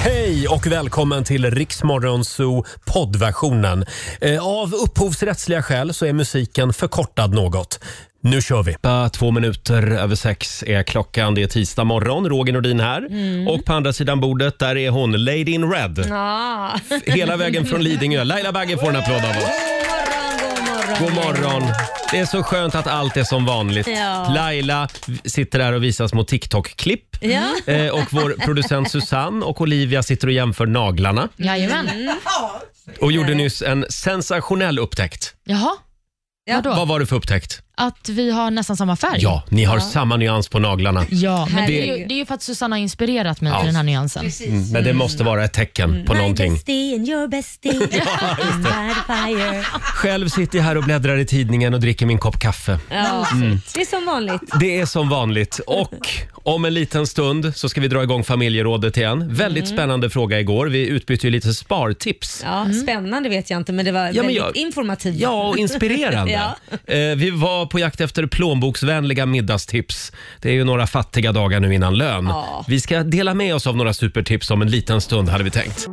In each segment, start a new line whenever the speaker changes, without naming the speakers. Hej och välkommen till Riksmorgonzoo poddversionen. Eh, Av upphovsrättsliga skäl så är musiken förkortad något. Nu kör vi! Bara Två minuter över sex är klockan. Det är tisdag morgon. Roger Nordin här.
Mm.
Och på andra sidan bordet där är hon, Lady in Red.
Ja.
Hela vägen från Lidingö. Laila Bagge får en applåd av oss. God morgon! Det är så skönt att allt är som vanligt.
Ja.
Laila sitter där och visar små TikTok-klipp.
Ja.
Eh, och vår producent Susanne och Olivia sitter och jämför naglarna.
Jajamän.
Mm.
Och gjorde nyss en sensationell upptäckt.
Jaha,
Vad var det för upptäckt?
att vi har nästan samma färg.
Ja, ni har samma nyans på naglarna.
Ja, men det, är ju,
Herregud.
det är ju för att Susanna har inspirerat mig
Ja.
till den här nyansen.
Mm, Men det måste vara ett tecken på
Mm.
någonting.
bestie and your bestie. I'm by the fire.
Själv sitter jag här och bläddrar i tidningen och dricker min kopp kaffe.
Ja. Mm. Det är som vanligt.
Det är som vanligt. Och om en liten stund så ska vi dra igång familjerådet igen. Väldigt spännande fråga igår. Vi utbytte ju lite spartips.
Ja, Spännande vet jag inte, men det var
Mm. men
väldigt
jag-
informativt.
Ja, och inspirerande.
Ja.
Eh, Vi var på jakt efter plånboksvänliga middagstips. Det är ju några fattiga dagar nu innan lön.
Ja.
Vi ska dela med oss av några supertips om en liten stund hade vi tänkt.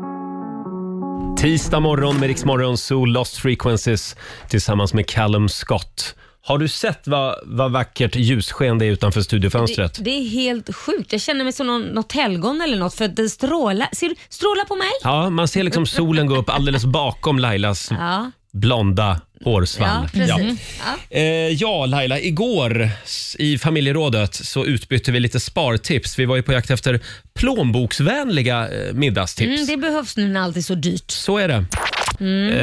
Tisdag morgon med Riksmorgon Zoo Lost Frequencies tillsammans med Callum Scott. Har du sett vad, vad vackert ljussken det är utanför studiofönstret?
Det, det är helt sjukt. Jag känner mig som någon, något helgon eller något för det strålar. Ser du? Strålar på mig.
Ja, man ser liksom solen gå upp alldeles bakom Lailas
Ja,
blonda
ja
hårsvall. Ja.
precis. Ja.
Eh, ja, Laila. Igår s- i familjerådet så utbytte vi lite spartips. Vi var ju på jakt efter plånboksvänliga eh, middagstips.
Mm, det Mm. behövs nu när allt är så dyrt.
Så är det.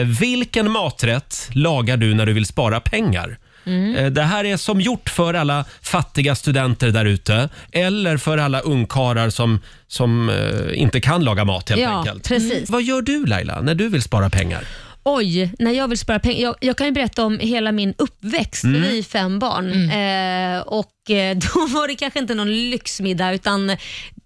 Eh, vilken maträtt lagar du när du vill spara pengar?
Mm.
Eh, det här är som gjort för alla fattiga studenter där ute eller för alla ungkarlar som, som eh, inte kan laga mat helt
Ja,
enkelt.
precis.
Vad gör du Laila när du vill spara pengar?
Oj, när jag vill spara pengar. Jag, jag kan ju berätta om hela min uppväxt.
Mm.
Vi är fem barn. Eh, och eh, Då var det kanske inte någon lyxmiddag utan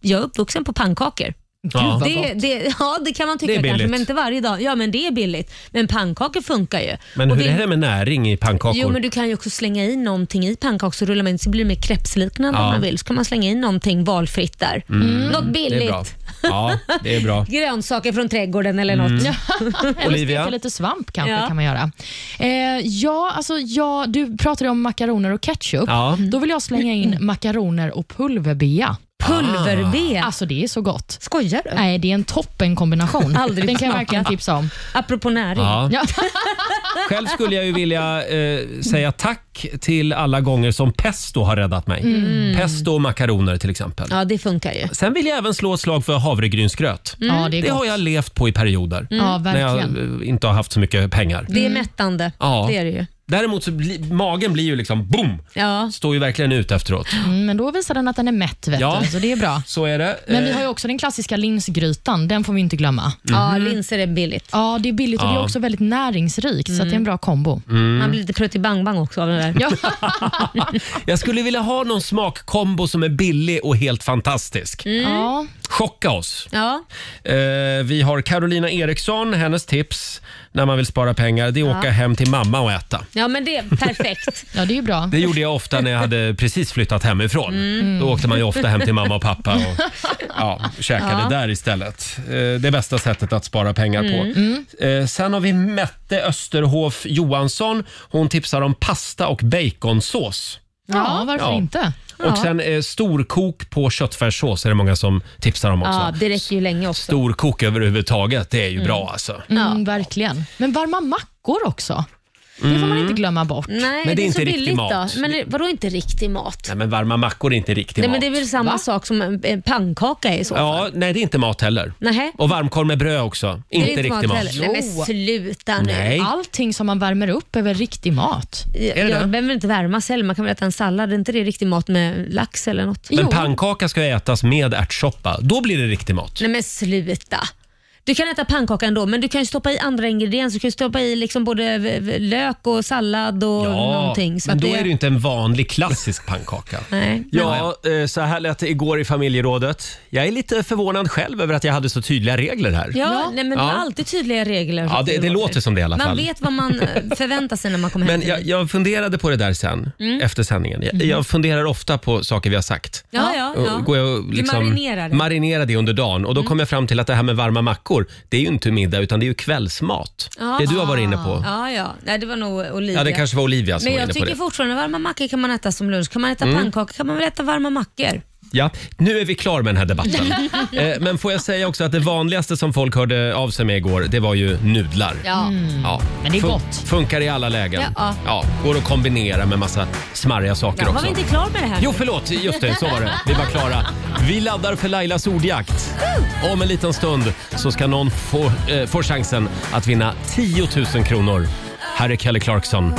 jag är uppvuxen på pannkakor.
Ja.
vad
Det,
gott.
det, ja, det kan man
Det är
tycka kanske,
billigt.
men inte varje dag. Ja, men det är billigt. Men pannkakor funkar ju.
Men
Och
hur
det-
är det med näring i pannkakor?
Jo, men du kan ju också slänga i någonting i pannkaksrullar, men så blir det mer krepsliknande
Ja. Mm.
om man vill. Så kan man slänga i någonting valfritt där. Något
det är
billigt.
bra. Ja, det är bra.
Grönsaker från trädgården eller något.
Mm.
Eller
Olivia?
steka lite svamp kanske
Ja.
kan man göra. Eh, ja, alltså, ja, du pratade om makaroner och ketchup.
Ja.
Mm.
Då vill jag slänga in makaroner och pulverbea.
Ah.
Pulverbea.
Alltså det är så gott.
Skojar du?
Nej, det är en toppen kombination.
Aldrig
Den kan jag
smaka.
verkligen tipsa om.
Apropå näring.
Ja.
Ja.
Själv skulle jag ju vilja eh, säga tack till alla gånger som pesto har räddat mig.
Mm.
Pesto och makaroner till exempel.
Ja, det funkar ju.
Sen vill jag även slå ett slag för havregrynsgröt.
Mm.
ja, Mm, det är
Det
gott.
har jag levt på i perioder
Ja,
när jag
verkligen. Mm.
eh, inte har haft så mycket pengar.
Det är mättande.
Mm. Ja.
Det är det ju.
Däremot så bli, magen blir ju liksom boom!
Ja.
Står ju verkligen ut efteråt.
Mm, men då visar den att den är mätt, vet
Ja.
du, så det är bra.
Så är det.
Men vi
Eh,
har ju också den klassiska linsgrytan. Den får vi inte glömma.
Mhm.
ja, linser är billigt.
Ja, det är billigt och det är också väldigt näringsrikt, så att det är en bra kombo.
Mm.
Man blir lite pruttibangbang också av det där.
Ja.
Jag skulle vilja ha någon smakkombo som är billig och helt fantastisk.
Mm. ja.
Chocka oss!
Ja.
Eh, vi har Carolina Eriksson, hennes tips när man vill spara pengar det är att åka hem till mamma och äta.
ja, men det är perfekt.
ja, det är ju bra.
Det gjorde jag ofta när jag hade precis flyttat hemifrån. Då åkte man ju ofta hem till mamma och pappa och ja, käkade där istället. Eh, det bästa sättet att spara pengar på. Eh, sen har vi Mette Österhof Johansson. Hon tipsar om pasta och baconsås.
Ja, varför
Ja.
inte?
Och sen eh, storkok på köttfärssås är det många som tipsar om också.
Ja, det räcker ju länge också.
Storkok överhuvudtaget, det är ju bra alltså.
Mm, Verkligen. Men varma mackor också. Det får man inte glömma bort.
Nej,
Men det är inte
så
riktig
billigt
mat.
Då. Men det, vadå inte riktig mat?
Nej, men varma mackor är inte riktigt
Nej, men
mat.
det är väl samma sak som en, en pannkaka är i så fall?
Ja, nej, det är inte mat heller.
Nähä.
Och varmkorv med bröd också.
Det
Inte,
är
riktig mat.
heller. Nej,
Jo.
men sluta nu.
Nej.
Allting som man värmer upp är väl riktig mat?
Jag,
det
jag
det?
behöver inte värma sig heller. Man kan väl äta en sallad? Är inte det riktig mat med lax eller något?
Men
Jo.
pannkaka ska ätas med ärtsoppa. Då blir det riktig mat.
Nej men sluta. Du kan äta pannkaka ändå, men du kan ju stoppa i andra ingredienser. Du kan ju stoppa i liksom både v- v- lök och sallad och någonting. Så
men
att
då är det ju inte en vanlig klassisk pannkaka.
Nej.
Ja, eh, så här lät det igår i familjerådet. Jag är lite förvånad själv över att jag hade så tydliga regler här.
Ja, Nej, men
Ja.
det är alltid tydliga regler.
Ja, det- det låter som det i alla fall.
Man vet vad man eh, förväntar sig när man kommer hem
Men
till
jag,
dig.
jag funderade på det där sen,
Mm.
efter sändningen. Jag, jag funderar ofta på saker vi har sagt.
Ja, ja,
Och
ja.
Går jag och
Du
liksom
marinerar det. Mm.
marinerar det under dagen och då kom jag fram till att det här med varma mackor, det är ju inte middag utan det är ju kvällsmat.
Ja.
Det du har varit inne på. Ja,
Ja, ja. Nej, det var nog Olivia.
det kanske var Olivia som
Men
var
jag
inne på
tycker
det. Mm.
fortfarande varma mackor kan man äta som lunch. Kan man äta pannkakor kan man väl äta varma mackor.
Ja, nu är vi klar med den här debatten. eh, men får jag säga också att det vanligaste som folk hörde av sig med igår, det var ju nudlar. Mm.
Ja.
Ja.
Men det är
Fun-
gott.
Funkar i alla lägen.
Ja.
går att kombinera med massa smarriga saker
Ja, var
också.
vi inte klara med det här?
Jo, förlåt. Just det, så var det. Vi var klara. Vi laddar för Lailas ordjakt. Om en liten stund så ska någon få, eh, få chansen att vinna 10 000 kronor. Här är Kelly Clarkson.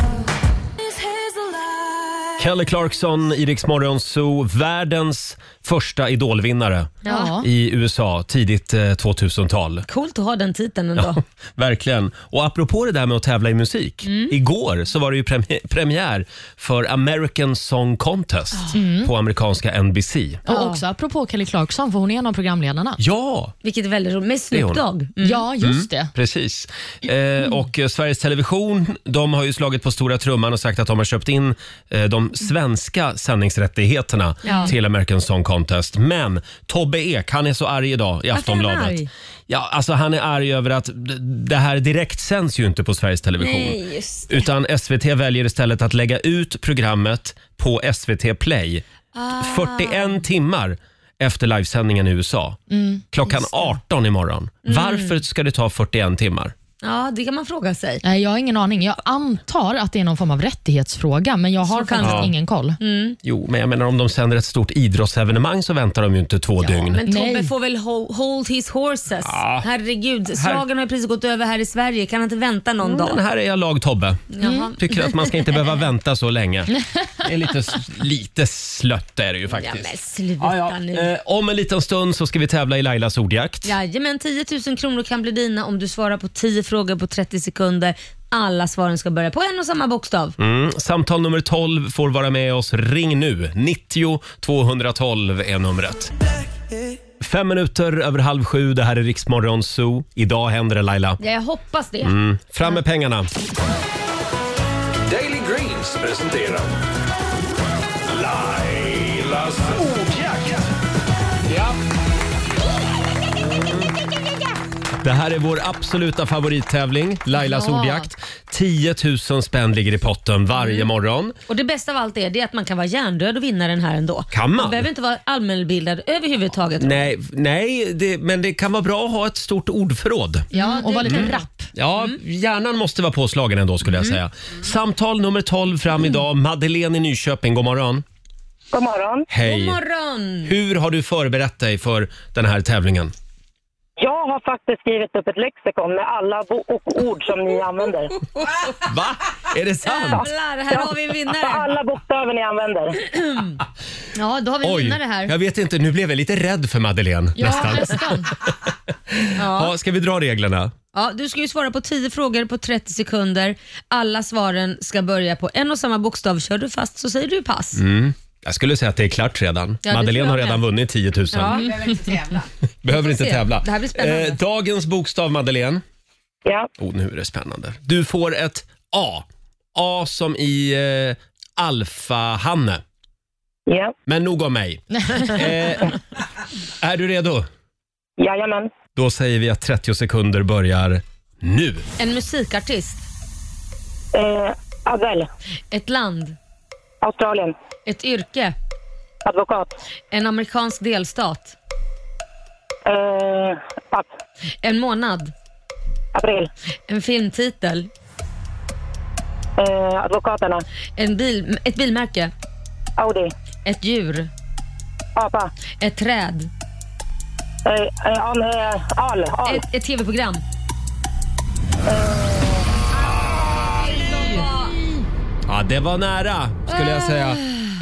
Kelly Clarkson, Iriks Morgonzoo, världens första idolvinnare
Ja.
i USA tidigt eh, 2000-tal.
Coolt att ha den titeln ändå.
Ja, verkligen. Och apropå det där med att tävla i musik. Igår så var det ju premi- premiär för American Song Contest på amerikanska NBC.
Och också apropå Kelly Clarkson, för hon är en av programledarna.
Ja,
Vilket är väldigt roligt. Med
är hon.
Snoop Dogg. Mm.
Ja, just det.
precis. Eh, och eh, Sveriges Television de har ju slagit på stora trumman och sagt att de har köpt in eh, de svenska sändningsrättigheterna
Ja.
till American Song Contest. Men Tobbe Ek, han är så arg idag i
Varför är han
Aftonbladet.
arg?
Ja, alltså han är arg över att d- det här direkt sänds ju inte på Sveriges Television.
Nej, just
Utan SVT väljer istället att lägga ut programmet på SVT Play
Ah.
41 timmar efter livesändningen i USA.
Mm,
Klockan 18 imorgon. Varför ska det ta 41 timmar?
Ja, det kan man fråga sig.
Nej, jag har ingen aning. Jag antar att det är någon form av rättighetsfråga, men jag har
Så kan
faktiskt
det vara.
ingen koll.
Jo, men jag menar om de sänder ett stort idrottsevenemang så väntar de ju inte två dygn.
Men Tobbe
Nej.
får väl ho- hold his horses.
Ja.
Herregud, slagen har ju precis gått över här i Sverige. Kan han inte vänta någon
Men
dag?
Mm, här är jag lag Tobbe.
Jaha.
Tycker att man ska inte behöva vänta så länge. Det är lite, lite slött är det ju
Ja,
faktiskt.
men sluta
Ja, ja.
nu.
Eh, om en liten stund så ska vi tävla i Lailas ordjakt.
Jajamän, 10 000 kronor kan bli dina om du svarar på 10 frågor på 30 sekunder. Alla svaren ska börja på en och samma bokstav.
Mm. Samtal nummer 12 får vara med oss. Ring nu. 90 212 är numret. Fem minuter över halv sju. Det här är Riksmorgon Zoo. Idag händer det Laila.
Ja, jag hoppas det.
Fram med pengarna.
Daily Greens presenterar Lailas ordjakt. Ja.
Det här är vår absoluta favorittävling, Lailas
Ja.
ordjakt. 10 000 spänn ligger i potten varje morgon.
Och Det bästa av allt är, det är att man kan vara hjärndöd och vinna den här ändå.
Kan man?
behöver inte vara allmänbildad överhuvudtaget.
Nej, nej det, men det kan vara bra att ha ett stort ordförråd.
Ja, och var lite rapp.
Ja,
Mm.
hjärnan måste vara påslagen ändå skulle jag säga. Samtal nummer 12 fram
Mm.
idag. Madeleine i Nyköping, god morgon.
God morgon.
Hej.
God morgon!
Hur har du förberett dig för den här tävlingen?
Jag har faktiskt skrivit upp ett lexikon med alla bo- och ord som ni använder.
Va? Är det sant?
Jävlar, här har vi en vinnare.
Alla bokstäver ni använder.
Ja, då har vi en
Oj,
vinnare här.
jag vet inte. Nu blev jag lite rädd för Madeleine
Ja,
nästan.
nästan.
Ja, ska vi dra reglerna?
Ja, du ska ju svara på 10 frågor på 30 sekunder. Alla svaren ska börja på en och samma bokstav. Kör du fast så säger du pass.
Mm. Jag skulle säga att det är klart redan.
det tror
Madeleine
jag
har redan
med.
vunnit 10 000.
Ja.
Behöver inte
se.
tävla. Eh,
Det här blir spännande.
dagens bokstav, Madeleine.
Ja,
Oh, nu är det spännande. Du får ett A. A som i eh, Alfa-Hanne.
ja,
Men nog om mig. eh, är du redo?
jajamän.
Då säger vi att 30 sekunder börjar nu.
En musikartist,
Eh, Adele,
ett land,
Australien,
ett yrke,
advokat.
en amerikansk delstat,
Eh, pass.
en månad,
April.
en filmtitel,
Eh, advokaterna,
en bil, ett bilmärke,
Audi,
ett djur,
apa.
ett träd,
Eh, eh, an, eh, al, al.
ett, ett tv-program.
Ja, det var nära skulle jag säga.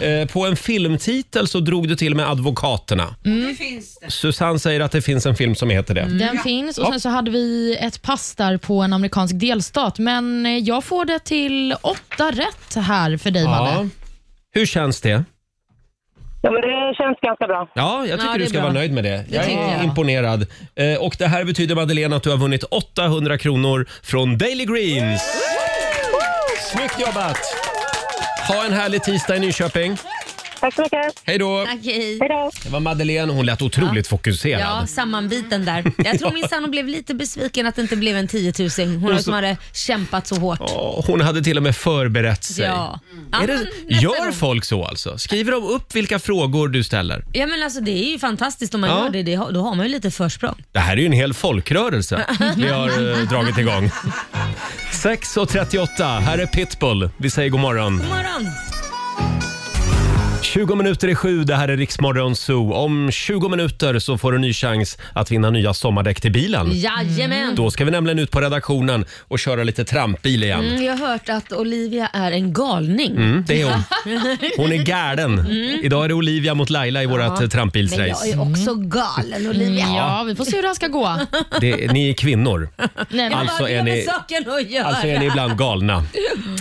Eh, På en filmtitel så drog du till med Advokaterna.
Det finns det.
Susanne säger att det finns en film som heter det.
Den finns och sen så hade vi ett pass där på en amerikansk delstat. Men eh, jag får det till åtta rätt här för dig,
Ja.
Manne.
Hur känns det?
Ja, men det känns ganska bra.
Ja, jag tycker
det
du
är
ska
bra.
vara nöjd med det. Jag
tycker
är
jag.
imponerad. Eh, Och det här betyder Madeleine att du har vunnit 800 kronor från Daily Greens. Snyggt jobbat! Ha en härlig tisdag i Nyköping.
Tack så mycket.
Hej då!
Tack, hej.
Hej då.
Det var Madeleine, hon lät otroligt fokuserad.
Ja, sammanbiten där. Jag tror min sanno blev lite besviken att det inte blev en 10 000. Hon som hade kämpat så hårt.
Ja, Hon hade till och med förberett sig. Mm.
Ja.
Är
Ja,
det,
men nästa
gör
gång.
folk så alltså? Skriver de upp vilka frågor du ställer?
Ja men alltså det är ju fantastiskt om man
Ja.
gör det. det. har- Då har man ju lite försprång.
Det här är ju en hel folkrörelse vi har eh, dragit igång. 6.38, här är Pitbull. Vi säger god morgon.
God morgon!
20 minuter i sju, det här är Riksmorgon Zoo. Om 20 minuter så får du en ny chans att vinna nya sommardäck till bilen.
Jajamän!
Då ska vi nämligen ut på redaktionen och köra lite trampbil igen.
Mm, jag har hört att Olivia är en galning.
Mm, det är hon. Hon är galen. Idag är det Olivia mot Laila i vårat eh,
Men jag
trampbilsrace.
är också
Mm.
galen Olivia.
Ja, vi får se hur det här ska gå.
Det, ni är kvinnor.
Nej, men,
Alltså
Vad
är
har det
ni-
med saken att göra?
Alltså är ni ibland galna.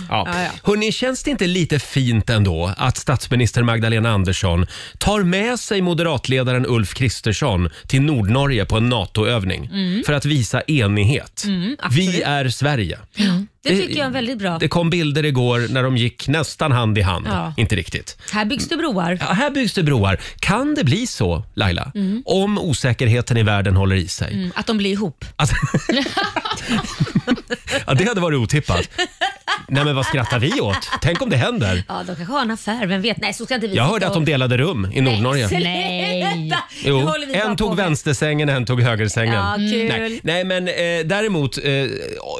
Ja. Hörrni, känns det inte lite fint ändå att statsminister Magdalena Andersson tar med sig moderatledaren Ulf Kristersson till Nordnorge på en NATO-övning för att visa enighet? Vi är Sverige.
det tycker jag är väldigt bra.
Det kom bilder igår när de gick nästan hand i hand.
Ja.
Inte riktigt.
Här byggs det broar.
Ja, här byggs det broar. Kan det bli så, Laila, om osäkerheten i världen håller i sig?
Mm, Att de blir ihop.
Alltså, ja, det hade varit otippat. Nej, men vad skrattar vi åt? Tänk om det händer?
Ja, de kanske har en affär, vem vet? Nej, så ska inte vi
Jag
sitta
hörde att
och-
de delade rum i Nordnorge.
Nej.
Sluta! Nu
Jo,
håller vi bara
en
på
tog
med-
vänstersängen, en tog högersängen.
Ja, kul.
Nej, nej, men eh, däremot, eh,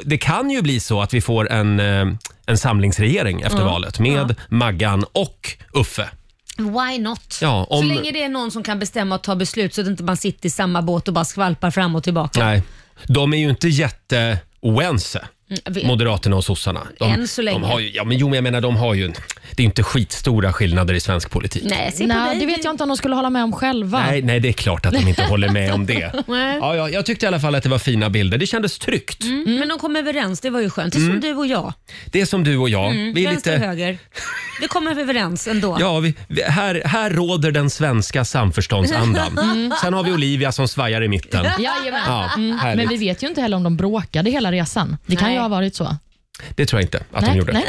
det kan ju bli så att vi får en, eh, en samlingsregering efter
Mm.
valet med Maggan och Uffe.
Why not?
Ja, om-
Så länge det är någon som kan bestämma och ta beslut så att inte man sitter i samma båt och bara skvalpar fram och tillbaka.
Nej, de är ju inte jätte oense.
vi-
Moderaterna och sossarna. De,
Än så länge.
De har ju, ja, men jo, men jag menar, de har ju... Det är inte skitstora skillnader i svensk politik.
Nej, se på
nej,
dig.
det vet jag inte om de skulle hålla med om själva.
Nej, nej, det är klart att de inte håller med om det.
Nej.
Ja, ja, jag tyckte i alla fall att det var fina bilder. Det kändes tryggt.
Mm. Men de kom överens, det var ju skönt. Det är som du och jag.
Det är som du och jag. Mm. vi är
Vänster och
lite...
höger. Vi kommer överens ändå.
Ja, vi, vi- här, här råder den svenska samförståndsandan. Sen har vi Olivia som svajar i mitten.
Jajamän.
Ja, härligt.
Men vi vet ju inte heller om de bråkade hela resan. Det kan
Nej.
ju ha varit så.
Det tror jag inte att de
Nej,
gjorde.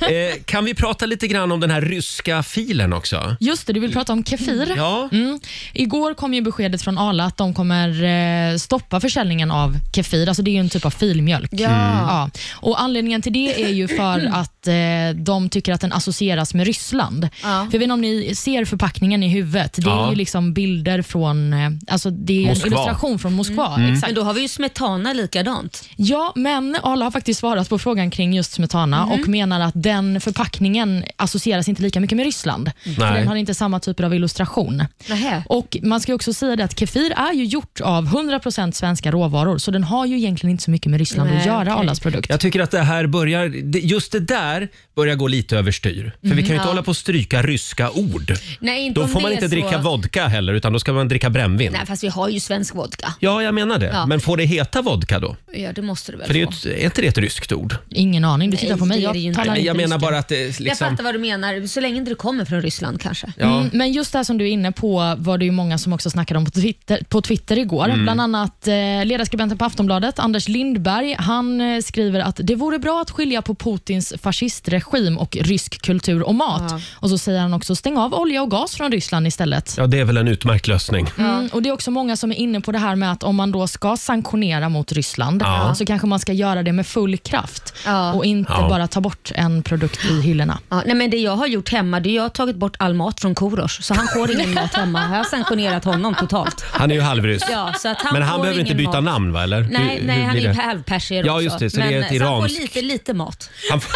nej,
Eh, kan vi prata lite grann om den här ryska filen också?
Just det, du vill prata om Kefir.
Ja.
Mm. Igår kom ju beskedet från Arla att de kommer eh, stoppa försäljningen av Kefir. Alltså det är ju en typ av filmjölk.
Mm.
Mm.
Ja. Och Anledningen till det är ju för att eh, de tycker att den associeras med Ryssland.
Ja.
För Jag vet inte om ni ser förpackningen i huvudet. Det är
Ja.
ju liksom bilder från... eh, Alltså det är
Moskva. Mm.
en illustration från Moskva. Exakt.
Men då har vi ju smetana likadant.
Ja, men Arla har faktiskt svarat på frågan kring just smetana
Mm.
och menar att den förpackningen associeras inte lika mycket med Ryssland. För Den har inte samma typer av illustration.
Nähä.
Och Man ska ju också säga det att Kefir är ju gjort av 100% svenska råvaror, så den har ju egentligen inte så mycket med Ryssland
Nej,
att göra,
okej.
Arlas produkt.
Jag tycker att det här börjar, det- just det där börjar gå lite överstyr. För vi kan ju inte hålla på och stryka ryska ord.
Nej, inte
Då
Mm, om
får
det
man
är
inte
så.
dricka vodka heller, utan då ska man dricka brännvin.
Nej, fast vi har ju svensk vodka.
Ja, jag menar det.
Ja.
Men får det heta vodka då?
Ja, det måste du väl
För det är,
få.
ju ett, är inte det ett ryskt ord?
Ingen aning, du tittar
Nej,
på mig.
det är
Jag
det ju inte.
talar
Nej,
inte
jag menar
ryska.
bara att det
Jag
liksom...
fattar vad du menar, så länge inte du kommer från Ryssland kanske.
Ja.
Mm, men just det här som du är inne på var det ju många som också snackade om på Twitter, på Twitter igår.
Mm.
Bland annat eh, ledarskribenten på Aftonbladet, Anders Lindberg, han eh, skriver att det vore bra att skilja på Putins fascistregim och rysk kultur och mat. Och så säger han också, stäng av olja och gas från Ryssland istället.
ja, det är väl en utmärkt lösning.
Mm, och Det är också många som är inne på det här med att om man då ska sanktionera mot Ryssland
Ja.
så kanske man ska göra det med full kraft
Ja.
och inte
Ja.
bara ta bort en produkt i hyllorna.
Ja, nej men det jag har gjort hemma, det är jag har tagit bort all mat från Korosh, så han får ingen mat hemma. Jag har sanktionerat honom totalt.
Han är ju halvryss.
Ja, så att han
Men han
får
behöver inte
ingen
byta
mat.
namn va, eller?
Nej,
Hur-
nej
hur
han
blir
är
det?
halvpersier
Ja,
också.
just det, så det
men,
är ett
så han får
iranskt-
lite, lite mat.
Han får,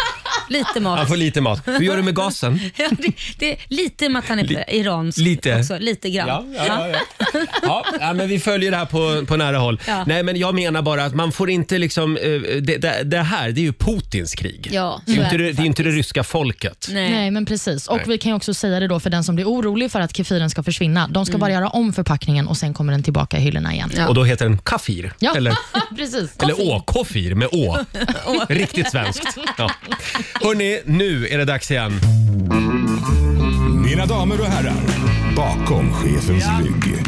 Lite
Han
mat.
får lite mat. Hur gör du med gasen?
Ja, det, det, lite med att han är
Li-
iransk
lite.
också. Lite grann.
Ja, ja, ja, ja. ja, ja men vi följer det här på, på nära håll.
Ja.
Nej, men jag menar bara att man får inte liksom... eh, Det, det, det här, det är ju Putins krig.
Ja,
det, är ju
så är
inte
det
det, det är ju inte det ryska folket.
Nej.
Nej, men precis. Och
Nej.
Vi kan ju också säga det då för den som blir orolig för att kefiren ska försvinna. De
Mm.
ska bara göra om förpackningen och sen kommer den tillbaka i hyllorna igen.
Ja.
Och då heter den kafir.
Ja,
Eller,
precis.
eller å, kofir med å. Riktigt svenskt. Ja. Hörni, nu är det dags igen.
Mina damer och herrar, bakom chefens rygg.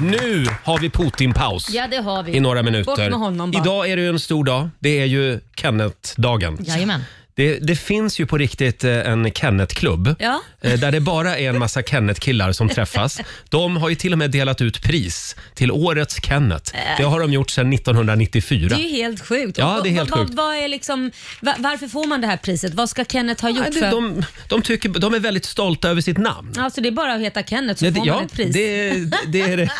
Nu har vi Putin-paus.
Ja, det har vi.
I några
Bort
minuter.
med honom bara.
Idag är det ju en stor dag. Det är ju Kenneth-dagen.
Jajamän.
Det, det finns ju på riktigt eh, en Kenneth-klubb
Ja.
eh, där det bara är en massa Kenneth-killar som träffas. De har ju till och med delat ut pris till årets Kenneth. Det har de gjort sedan 1994.
Äh. Det är ju helt sjukt.
Ja, det är
Va-
helt
va-
sjukt.
Vad är liksom, va- varför får man det här priset? Vad ska Kenneth ha gjort?
Nej,
för...
det- De, de, tycker, de är väldigt stolta över sitt namn.
Alltså det är bara att heta Kenneth så
Nej,
får
det-
man
ja,
ett pris.
det, det är det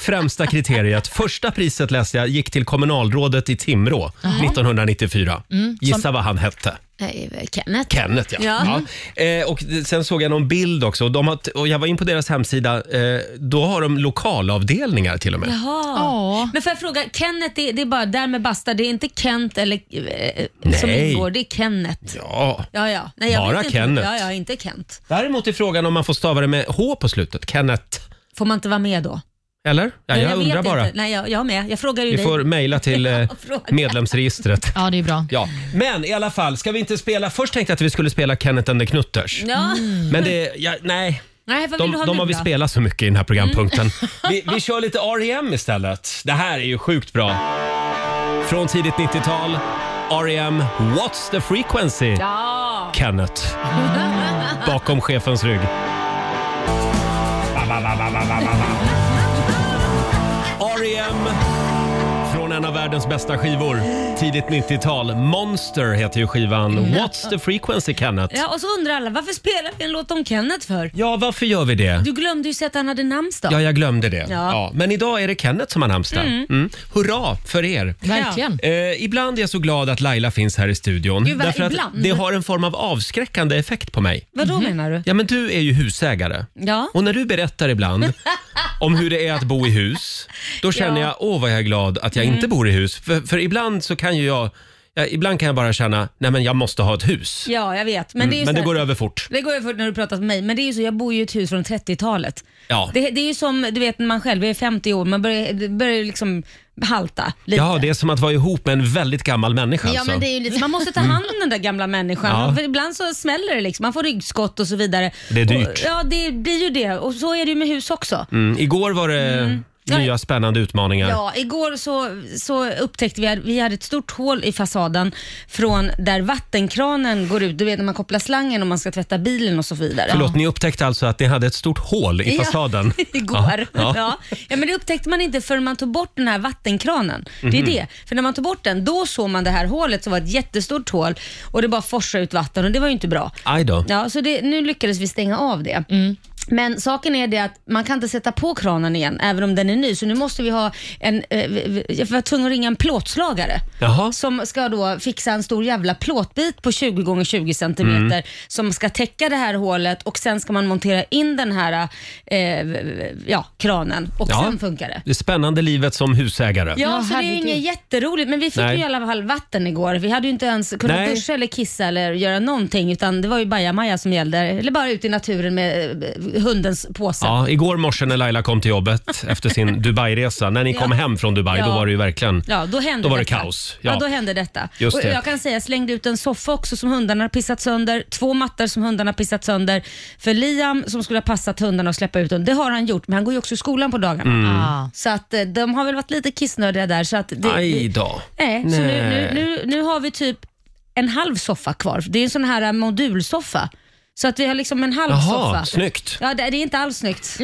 främsta kriteriet. Första priset läste jag gick till kommunalrådet i Timrå 1994.
Mm,
Gissa vad han hette?
Nej, Kenneth.
Kenneth ja.
Ja.
Ja. Eh, och d- sen såg jag någon bild också. Och De har, t- och jag var in på deras hemsida. Eh, då har de lokalavdelningar till och med.
Jaha.
Ja.
Men får jag fråga, Kenneth det, det är bara där med basta, det är inte Kent eller, eh, som
Nej.
ingår, det är Kenneth.
Ja.
Ja, ja. Nej, jag
Bara
vet inte.
Kenneth.
Ja, ja, inte Kent.
Däremot är frågan om man får stava det med H på slutet. Kenneth.
Får man inte vara med då?
Eller? Ja,
Nej,
jag,
vet
undrar bara.
Inte. Nej, jag, jag med. Jag frågar ju
Vi
dig.
får mejla till eh,
fråga.
medlemsregistret.
Ja, det är bra.
Ja. Men i alla fall, ska vi inte spela... Först tänkte jag att vi skulle spela Kenneth and the Knutters.
Ja.
Men det, ja, nej,
Nej, vad vill du
de,
ha
de
nu
har vi
då? Mm.
spelat så mycket i den här programpunkten. Vi, vi kör lite R.E.M. istället. Det här är ju sjukt bra. Från tidigt 90-tal. R.E.M. What's the frequency?
Ja.
Kenneth. Bakom chefens rygg. R.E.M. E Från en av världens bästa skivor. Tidigt 90-tal. Monster heter ju skivan. What's the frequency, Kenneth?
ja, och så undrar alla varför spelar vi en låt om Kenneth för?
Ja, varför gör vi det?
Du glömde ju säga att han hade namnsdag.
Ja, jag glömde det. Ja.
Ja.
Men idag är det Kenneth som har namnsdag. Mm. Hurra för er!
Verkligen.
Eh, ibland är jag så glad att Laila finns här i studion.
Gud, vad-
därför att
ibland?
det har en form av avskräckande effekt på mig.
Vad då menar du?
Mhm. Ja, men du är ju husägare.
Ja.
Och när du berättar ibland om hur det är att bo i hus, då känner
Ja. Mm.
jag, åh vad jag är glad att jag inte bor i hus. För, för ibland så kan ju jag, ja, ibland kan jag bara känna, nej men jag måste ha ett hus.
Ja, jag vet. Men det är ju
Mm, Men
så
det
här-
går över fort.
Det går ju fort när du pratar med mig, men det är ju så, jag bor ju i ett hus från 30-talet.
Ja.
Det, det är ju som, du vet när man själv är 50 år, man börjar, det börjar liksom halta lite.
Ja, det är som att vara ihop med en väldigt gammal människa.
Ja,
alltså.
men det är ju lite, man måste ta hand om den där gamla människan.
Ja.
För ibland så smäller det liksom. Man får ryggskott och så vidare.
Det är dyrt.
Och, ja, det blir ju det. Och så är det ju med hus också.
Mm, igår var det
Ja,
nya
ja.
spännande utmaningar.
Ja, igår så, så upptäckte vi att vi hade ett stort hål i fasaden från där vattenkranen går ut. Du vet när man kopplar slangen och man ska tvätta bilen och så vidare.
Förlåt, ni upptäckte alltså att ni hade ett stort hål i
Ja,
fasaden?
igår.
Ja,
Ja,
ja.
ja. men det upptäckte man inte förrän man tog bort den här vattenkranen. Det är
Mhm.
det. För när man tog bort den, då såg man det här hålet som var ett jättestort hål och det bara forsade ut vatten och det var ju inte bra.
Aj då.
Ja, så det, nu lyckades vi stänga av det. Men saken är det att man kan inte sätta på kranen igen, även om den är ny. Så nu måste vi ha en... Eh, vi- vi- jag var tvungen att ringa en plåtslagare.
Jaha.
Som ska då fixa en stor jävla plåtbit på 20 x 20 centimeter
Mm.
som ska täcka det här hålet och sen ska man montera in den här eh, ja, kranen och
Ja.
sen funkar det.
Det spännande livet som husägare.
Ja,
Ja,
så det är ju
herregud.
inget jätteroligt. Men vi fick
Nej.
ju i alla fall vatten igår. Vi hade ju inte ens kunnat
Nej.
duscha eller kissa eller göra någonting utan det var ju bajamaja som gällde. Eller bara ut i naturen med eh, hundens påse.
Ja, igår morse när Laila kom till jobbet efter sin Dubai-resa, när ni kom hem från Dubai, då
Ja.
var det ju verkligen...
Ja, då hände
Då var det
detta.
kaos.
Ja.
Ja.
då hände detta.
Just
och
det.
Jag kan säga, jag slängde ut en soffa också som hundarna har pissat sönder. Två mattor som hundarna har pissat sönder. För Liam som skulle ha passat hundarna och släppa ut dem, det har han gjort. Men han går ju också i skolan på dagarna.
Mm.
Ah.
Så att eh, de har väl varit lite kissnödiga där. Så att det,
Aj då.
Nej, så nu,
Nej.
nu, nu, nu har vi typ en halv soffa kvar. Det är en sån här eh, modulsoffa. Så att vi har liksom en halv
Jaha,
soffa.
snyggt.
Ja, det det är inte alls snyggt.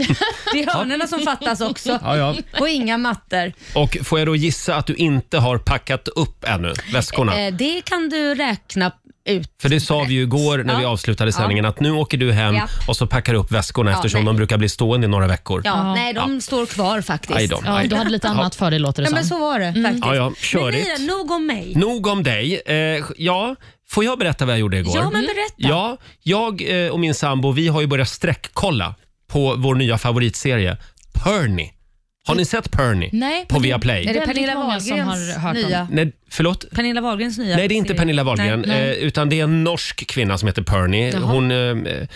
Det är hörnorna som fattas också.
Ja, ja.
Och inga mattor.
Och får jag då gissa att du inte har packat upp ännu väskorna?
Eh, det kan du räkna ut.
För det sa vi ju igår när vi
Ja.
avslutade sändningen att nu åker du hem
Ja.
och så packar du upp väskorna
Ja,
eftersom
nej.
de brukar bli stående i några veckor.
Ja, nej, de står kvar faktiskt.
Aj då.
Ja, du hade lite annat för dig låter det
Ja,
som.
men så var det faktiskt.
Ja, ja,
men
körigt.
Mira, nog om mig.
Nog om dig. Eh, ja, Får jag berätta vad jag gjorde igår?
Ja, men berätta.
Ja, jag eh, och min sambo vi har ju börjat sträckkolla på vår nya favoritserie Perny. Har ni sett Perny?
Nej,
På
men-
Viaplay?
Är det
Väldigt
Pernilla
många
Wahlgrens
som har hört om-
nya?
Nej, förlåt?
Pernilla Wahlgrens nya
Nej, det är inte
serie.
Pernilla Wahlgren,
Nej, nej.
eh, utan det är en norsk kvinna som heter Perny. Hon, eh,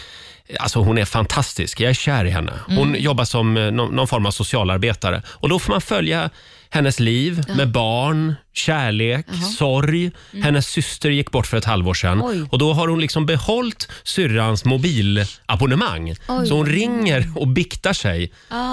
alltså hon är fantastisk. Jag är kär i henne. Hon
Mm.
jobbar som eh, någon, någon form av socialarbetare. Och Då får man följa hennes liv med barn, kärlek, sorg. Hennes syster gick bort för ett halvår sedan.
Mm. Oj.
Och Då har hon liksom behållit syrrans mobilabonnemang.
Oj. Ah.
Så hon ringer och biktar sig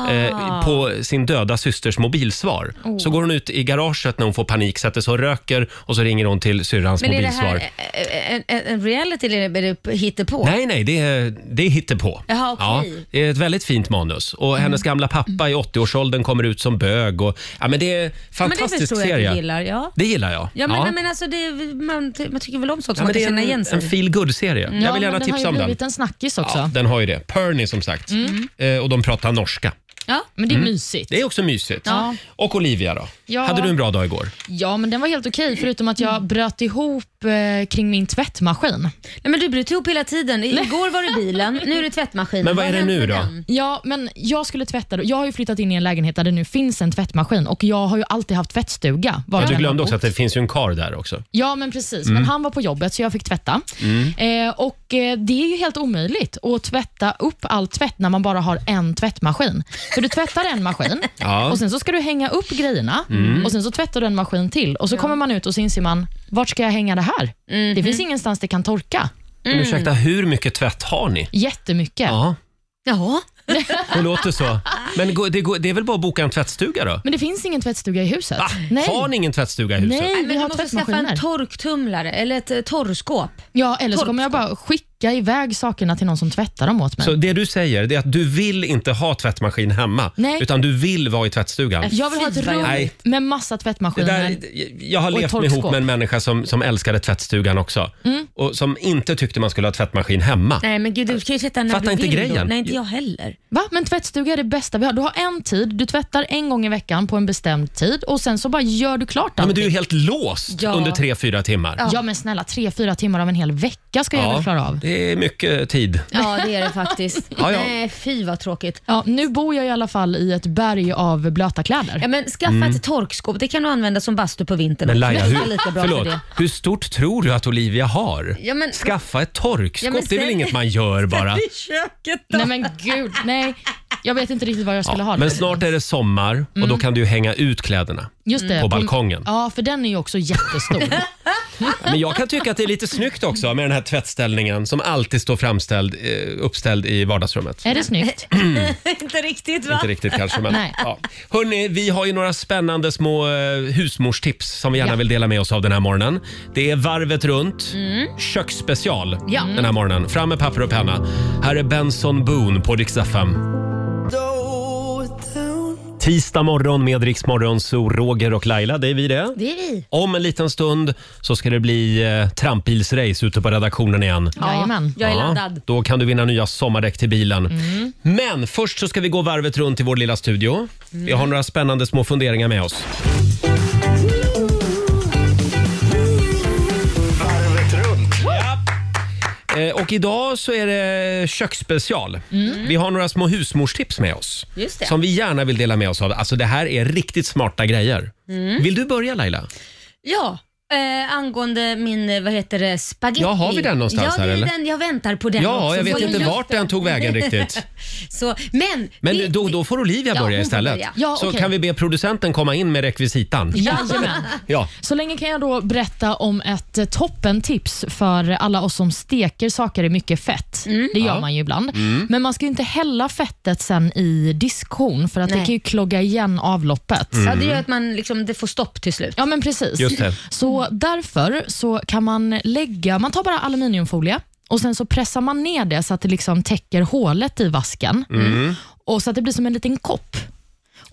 eh, på sin döda systers mobilsvar. Så
Oh.
går hon ut i garaget när hon får panik, sätter sig och röker och så ringer hon till syrrans
Men är det
mobilsvar.
här eh, en, en, en reality eller är det hittepå?
Nej, nej, det är, det är hittepå.
Jaha, okej. Mm.
det är ett väldigt fint manus. Och hennes gamla pappa i 80-årsåldern kommer ut som bög. Och, ja, men det är en
men det
fantastisk
förstår jag
serie.
att du gillar. Ja.
Det gillar jag.
Ja, men, men alltså, det, är- man, man tycker väl om sånt
Ja,
som
men
man kan
det är
känna
en,
igen
en
sig i.
feel good serie Jag
Ja,
vill
men
gärna tipsa om
Den har ju
den.
blivit en snackis också.
Ja, den har ju det. Perny som sagt.
Mm.
Eh, och de pratar norska.
Ja.
Men det är mysigt.
Mm. Det är också mysigt.
Ja.
Och Olivia då?
Ja.
Hade du en bra dag igår?
Ja, men den var helt okej, förutom att
Mm.
jag bröt ihop eh, kring min tvättmaskin.
Nej, men du bryter ihop hela tiden. I- Igår var det bilen, nu är det tvättmaskinen.
Men vad är det
har hänt
nu
med
då?
den?
Ja, men jag skulle tvätta. då. Jag har ju flyttat in i en lägenhet där det nu finns en tvättmaskin och jag har ju alltid haft tvättstuga. var
Ja,
jag
du
än har
glömde också
bott.
att det Mm. finns ju en kar där också.
Ja, men precis. Men han var på jobbet så jag fick tvätta.
Mm.
Eh, och eh, Det är ju helt omöjligt att tvätta upp all tvätt när man bara har en tvättmaskin. För du tvättar en maskin
Ja. Mm.
och sen så ska du hänga upp grejerna och sen så tvättar du en maskin till och så kommer man ut och så inser man, vart ska jag hänga det här? Det
Mhm.
finns ingenstans det kan torka.
Men ursäkta,
Mm.
hur mycket tvätt har ni?
Jättemycket.
Ja,
Jaha.
det låter så. Men gå- det, går- det är väl bara att boka en tvättstuga då?
Men det finns ingen tvättstuga i huset.
Va? Har ni ingen tvättstuga i huset?
Nej,
Nej,
vi
men du
har
måste skaffa en
tvättmaskiner.
torktumlare eller ett eh, torrskåp.
Ja, eller så kommer jag bara skicka iväg sakerna till någon som tvättar dem åt mig.
Så det du säger det är att du vill inte ha tvättmaskin hemma,
Nej.
utan du vill vara i
Äh,
tvättstugan.
jag vill ha ett
Fy, vad
rum
Nej.
med massa
Det
tvättmaskiner.
där, jag har
Och
levt mig
torkskåp.
ihop med en människa som, som älskade tvättstugan också och som inte tyckte man skulle ha tvättmaskin hemma.
Mm. Nej men gud, du kan ju tvätta när
Fattar
du
inte
vill
grejen.
Då. Nej, inte jag heller.
Va? Men tvättstuga är det bästa vi har. Du har en tid, du tvättar en gång i veckan på en bestämd tid och sen så bara gör du klart
Ja, men
allting.
du är ju helt låst
Ja.
under tre fyra timmar.
Ja men snälla, tre, fyra timmar av en hel vecka ska jag väl klara av.
det är mycket tid.
Ja, det är det faktiskt.
Ja, ja.
Nej, fy vad tråkigt.
Ja, nu bor jag i alla fall i ett berg av blöta kläder.
Ja, men skaffa ett torkskåp. Det kan du använda som bastu på vintern.
Mm. Men Laila, hur,
Det är lika bra
förlåt,
för det.
hur stort tror du att Olivia har?
Ja, men-
Skaffa ett torkskåp,
Ja, men
det är väl
ställ-
inget man gör bara?
I köket då?
Nej men gud, nej. Jag vet inte riktigt vad jag skulle ha det
Men
till.
snart är det sommar och då kan du ju hänga ut kläderna.
Just det,
på balkongen.
Ja, för den är ju också jättestor.
Men jag kan tycka att det är lite snyggt också med den här tvättställningen som alltid står framställd, eh, uppställd i vardagsrummet.
är det snyggt?
Inte riktigt va?
Inte riktigt kanske, men
Nej.
ja. Hörni, vi har ju några spännande små eh, husmorstips som vi gärna vill dela med oss av den här morgonen. Det är varvet runt, köksspecial
Ja.
den här morgonen. Fram med papper och penna. Här är Benson Boone på Rix FM. Tisdag morgon med Rix Morgon, så Roger och Laila, det är vi det.
Det är vi.
Om en liten stund så ska det bli eh, trampbilsrace ute på redaktionen igen.
Jajamän.
Jag är
Ja,
laddad. Mm.
Då kan du vinna nya sommardäck till bilen. Men först så ska vi gå varvet runt i vår lilla studio. Vi
Mm.
har några spännande små funderingar med oss.
Varvet runt.
Eh, Och idag så är det köksspecial. Vi har några små husmorstips med oss.
Mm. Just det.
Som vi gärna vill dela med oss av. Alltså det här är riktigt smarta grejer.
Mm.
Vill du börja Laila?
Ja, eh, angående min, eh, vad heter det, spagetti.
Ja, har vi den någonstans
ja,
här,
det är
eller?
Den, jag väntar på den
Ja,
också.
jag vet
Så-
inte vart den tog vägen riktigt.
Så, men, det-
Men då, då får Olivia
Ja,
börja
hon får
istället.
börja.
Ja,
Så
okej.
kan vi be producenten komma in med rekvisitan.
Jajamän.
Ja.
Så länge kan jag då berätta om ett eh, toppentips för alla oss som steker saker i mycket fett. Det gör man ju ibland. Men man ska ju inte hälla fettet sen i diskhon för att det
Nej. Mm.
kan ju klogga igen avloppet.
Mm.
ja, det gör att man liksom, det får stopp till slut.
Ja men precis.
Just det.
Så därför så kan man lägga, man tar bara aluminiumfolie och sen så pressar man ner det så att det liksom täcker hålet i vasken
Mm.
och så att det blir som en liten kopp.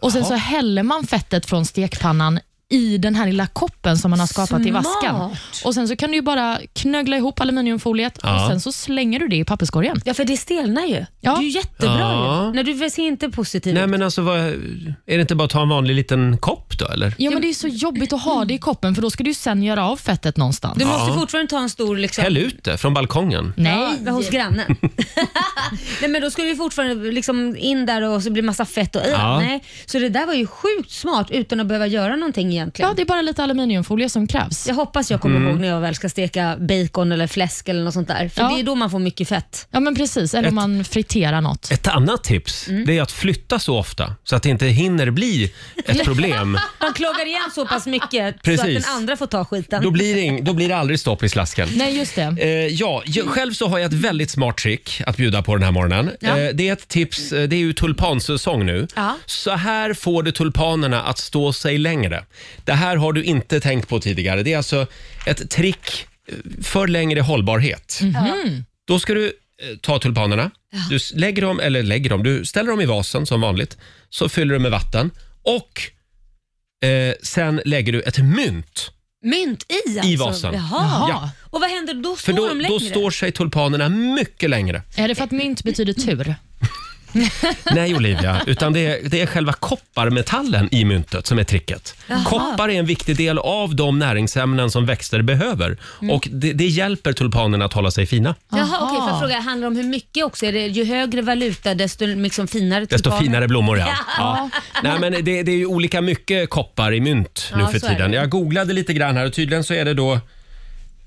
Och sen så häller man fettet från stekpannan i den här lilla koppen som man har skapat i vaskan.
Smart.
Och Sen så kan du ju bara knögla ihop aluminiumfoliet
Ja.
och sen så slänger du det i papperskorgen.
Ja, för det stelnar ju.
Ja.
Det är ju jättebra
Ja.
ju. Nej, du ser inte positiv
Nej
ut.
men alltså, vad, är det inte bara att ta en vanlig liten kopp då eller?
Ja, men Det är så jobbigt att ha det i koppen för då ska du ju sen göra av fettet någonstans.
Du
Ja.
måste fortfarande ta en stor liksom...
Häll ut det från balkongen.
Nej.
Ja, hos grannen. Nej, men då skulle vi fortfarande liksom in där och så blir det massa fett och
Ja.
ja. nej. Så det där var ju sjukt smart utan att behöva göra någonting egentligen.
Ja, det är bara lite aluminiumfolie som krävs.
Jag hoppas jag kommer
Mm.
ihåg när jag väl ska steka bacon eller fläsk eller något sånt där. För
Ja.
det är då man får mycket fett.
Ja, men precis. Eller om man friterar något.
Ett annat tips
Mm.
det är att flytta så ofta så att det inte hinner bli ett problem.
Man klagar igen så pass mycket så att
Precis.
den andra får ta skiten.
Då blir det, ing- då blir det aldrig stopp i slasken.
Nej, just det.
Eh, ja, jag,
Mm.
själv så har jag ett väldigt smart trick att bjuda på den här morgonen.
Ja.
Eh, det är ett tips. eh, Det är ju tulpansäsong nu.
Ja.
Så här får du tulpanerna att stå sig längre. Det här har du inte tänkt på tidigare. Det är alltså ett trick eh, för längre hållbarhet.
Mhm.
Då ska du eh, ta tulpanerna. Du s- lägger dem, eller lägger dem, du ställer dem i vasen som vanligt. Så fyller du med vatten och eh, sen lägger du ett mynt.
Mynt i alltså?
I vasen.
Jaha.
Ja.
Och vad händer då?
För
Står
då,
de längre?
då står sig tulpanerna mycket längre.
Är det för att mynt betyder tur?
Nej Olivia, utan det är, det är själva kopparmetallen i myntet som är tricket. Koppar är en viktig del av de näringsämnen som växter behöver
Mm.
och det, det hjälper tulpanerna att hålla sig fina.
Jaha,
Aha.
okej. Får jag fråga, handlar det om hur mycket också? Är det ju högre valuta desto liksom finare
Desto
tulpaner?
finare blommor ja. ja. Nej, men det, det är ju olika mycket koppar i mynt nu
Ja,
för
så är
tiden.
det.
Jag googlade lite grann här och tydligen så är det då,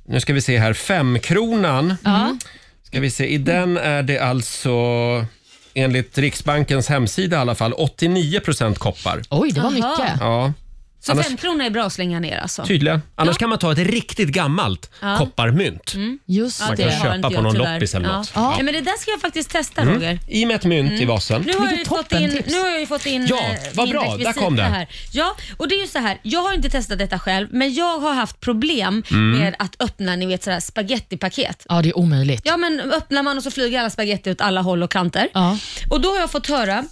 nu ska vi se här, femkronan.
Ja.
Ska vi se, i den är det alltså enligt Riksbankens hemsida i alla fall 89 koppar.
Oj, det var
Aha.
mycket.
Ja.
Så
Annars-
fem kronor är bra att slänga ner alltså?
Tydligen. Annars kan man ta ett riktigt gammalt kopparmynt.
Mm.
Just
Ja,
det.
kan köpa
har inte
på
jag
någon
tyvärr.
loppis eller
ja.
något. Mm.
Ja. men det där ska jag faktiskt testa Roger.
I med ett mynt
Mm.
i vasen.
Nu har, jag ju
Vilket
fått in,
toppentips.
nu har jag ju fått in
Ja,
eh,
vad
min
bra. Där
rekvisita
kom det.
Här. Ja, och det är ju så här. Jag har inte testat detta själv, men jag har haft problem
Mm.
med att öppna ni vet, sådär, spagettipaket.
Ja, det är omöjligt.
Ja, men öppnar man och så flyger alla spagetti åt alla håll och kanter.
Ja.
Och då har jag fått höra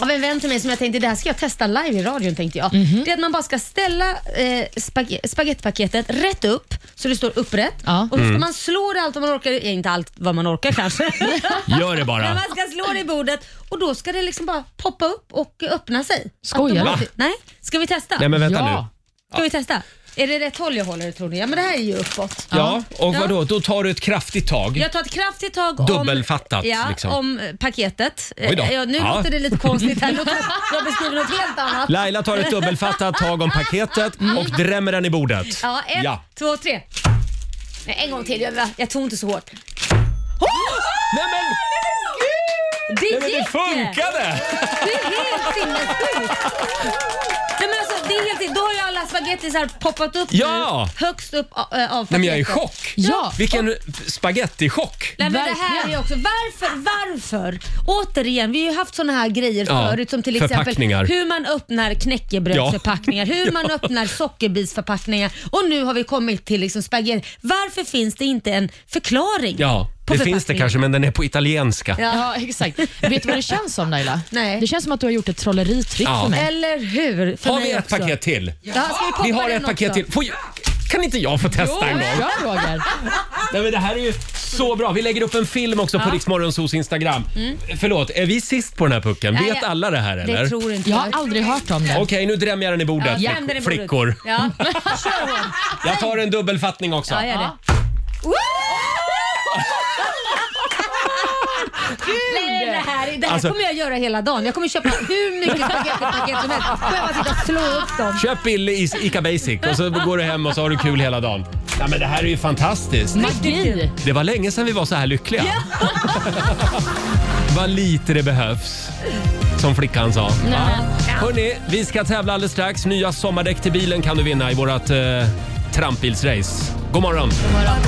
av en vän till mig som jag tänkte det här ska jag testa live i radion tänkte jag.
Mhm.
Det är att man bara ska ställa eh, spag- spagettipaketet rätt upp så det står upprätt
Ja.
och så ska
Mm.
man slå det allt vad man orkar, eh, inte allt vad man orkar kanske.
Gör det
Men
bara.
man ska slå det i bordet och då ska det liksom bara poppa upp och öppna sig.
Skojar du?
Automatiskt. Nej, ska vi testa?
Nej men vänta
Ja.
nu.
Ska vi testa? Är det rätt håll jag håller tror ni? Ja men det här är ju uppåt.
Ja, och
Ja.
vadå? Då tar du ett kraftigt tag.
Jag tar ett kraftigt tag
Dubbelfattat,
om, ja,
liksom.
om eh, paketet.
Oj då.
Eh, Ja, nu
Ja.
låter det lite konstigt här. Låter- Jag beskriver något helt annat.
Laila tar ett dubbelfattat tag om paketet och drämmer den i bordet.
Mm. Ja, ett,
Ja.
två, tre. Nej, en gång till. Jag, jag tog inte så hårt.
Nej men,
Det
nej, men det
gick!
funkade!
Det är helt sinnessjukt. Nej, men alltså, det är helt, då har ju alla spagettisar poppat upp
Ja.
nu, högst upp a- ö, av paketet.
Nej men jag är i chock.
Ja.
Vilken spagettichock.
Nej, men det här är
Verkligen.
också, varför, varför? Återigen, vi har ju haft såna här grejer
Ja,
förut som till exempel
förpackningar.
hur man öppnar knäckebrödsförpackningar, hur man öppnar sockerbitsförpackningar och nu har vi kommit till liksom spagetti. Varför finns det inte en förklaring?
Ja,
på
det finns det
förpackningen?
kanske men den är på italienska.
Ja.
Ja, exakt. Vet du vad det känns som Laila?
Nej.
Det känns som att du har gjort ett trolleritrick
Ja.
för mig.
Eller hur? För
Har
mig
vi ett
också.
paket till?
Ja, ska vi, poppa
Vi har
den
ett paket
också?
till. Får jag, kan inte jag få testa en gång?
Ja, Roger.
Nej, men det här är ju så bra. Vi lägger upp en film också på Riksmorgonsos Instagram. Förlåt, är vi sist på den här pucken?
Nej,
Vet
jag-
alla det här eller?
Mm. Det
Okej,
tror inte
Jag
jag.
har aldrig hört om det.
nu drämmer jag den i bordet.
Jag vänder den i bordet.
Flickor. Mm.
Ja. Kör hon.
Jag tar en dubbelfattning också.
Ja, gör det. Nej, det här, det här
Alltså-
kommer jag göra hela dagen. Jag kommer köpa hur mycket spagettipaket som helst. Behöva sitta och slå upp dem.
Köp billig is- Ica Basic och så går du hem och så har du kul hela dagen. Nej, men det här är ju fantastiskt.
Magi.
Det var länge sedan vi var så här lyckliga. Vad lite det behövs. Som flickan sa. Ja. Hörni, vi ska tävla alldeles strax. Nya sommardäck till bilen kan du vinna i vårt eh, trampbilsrace. God morgon! God morgon.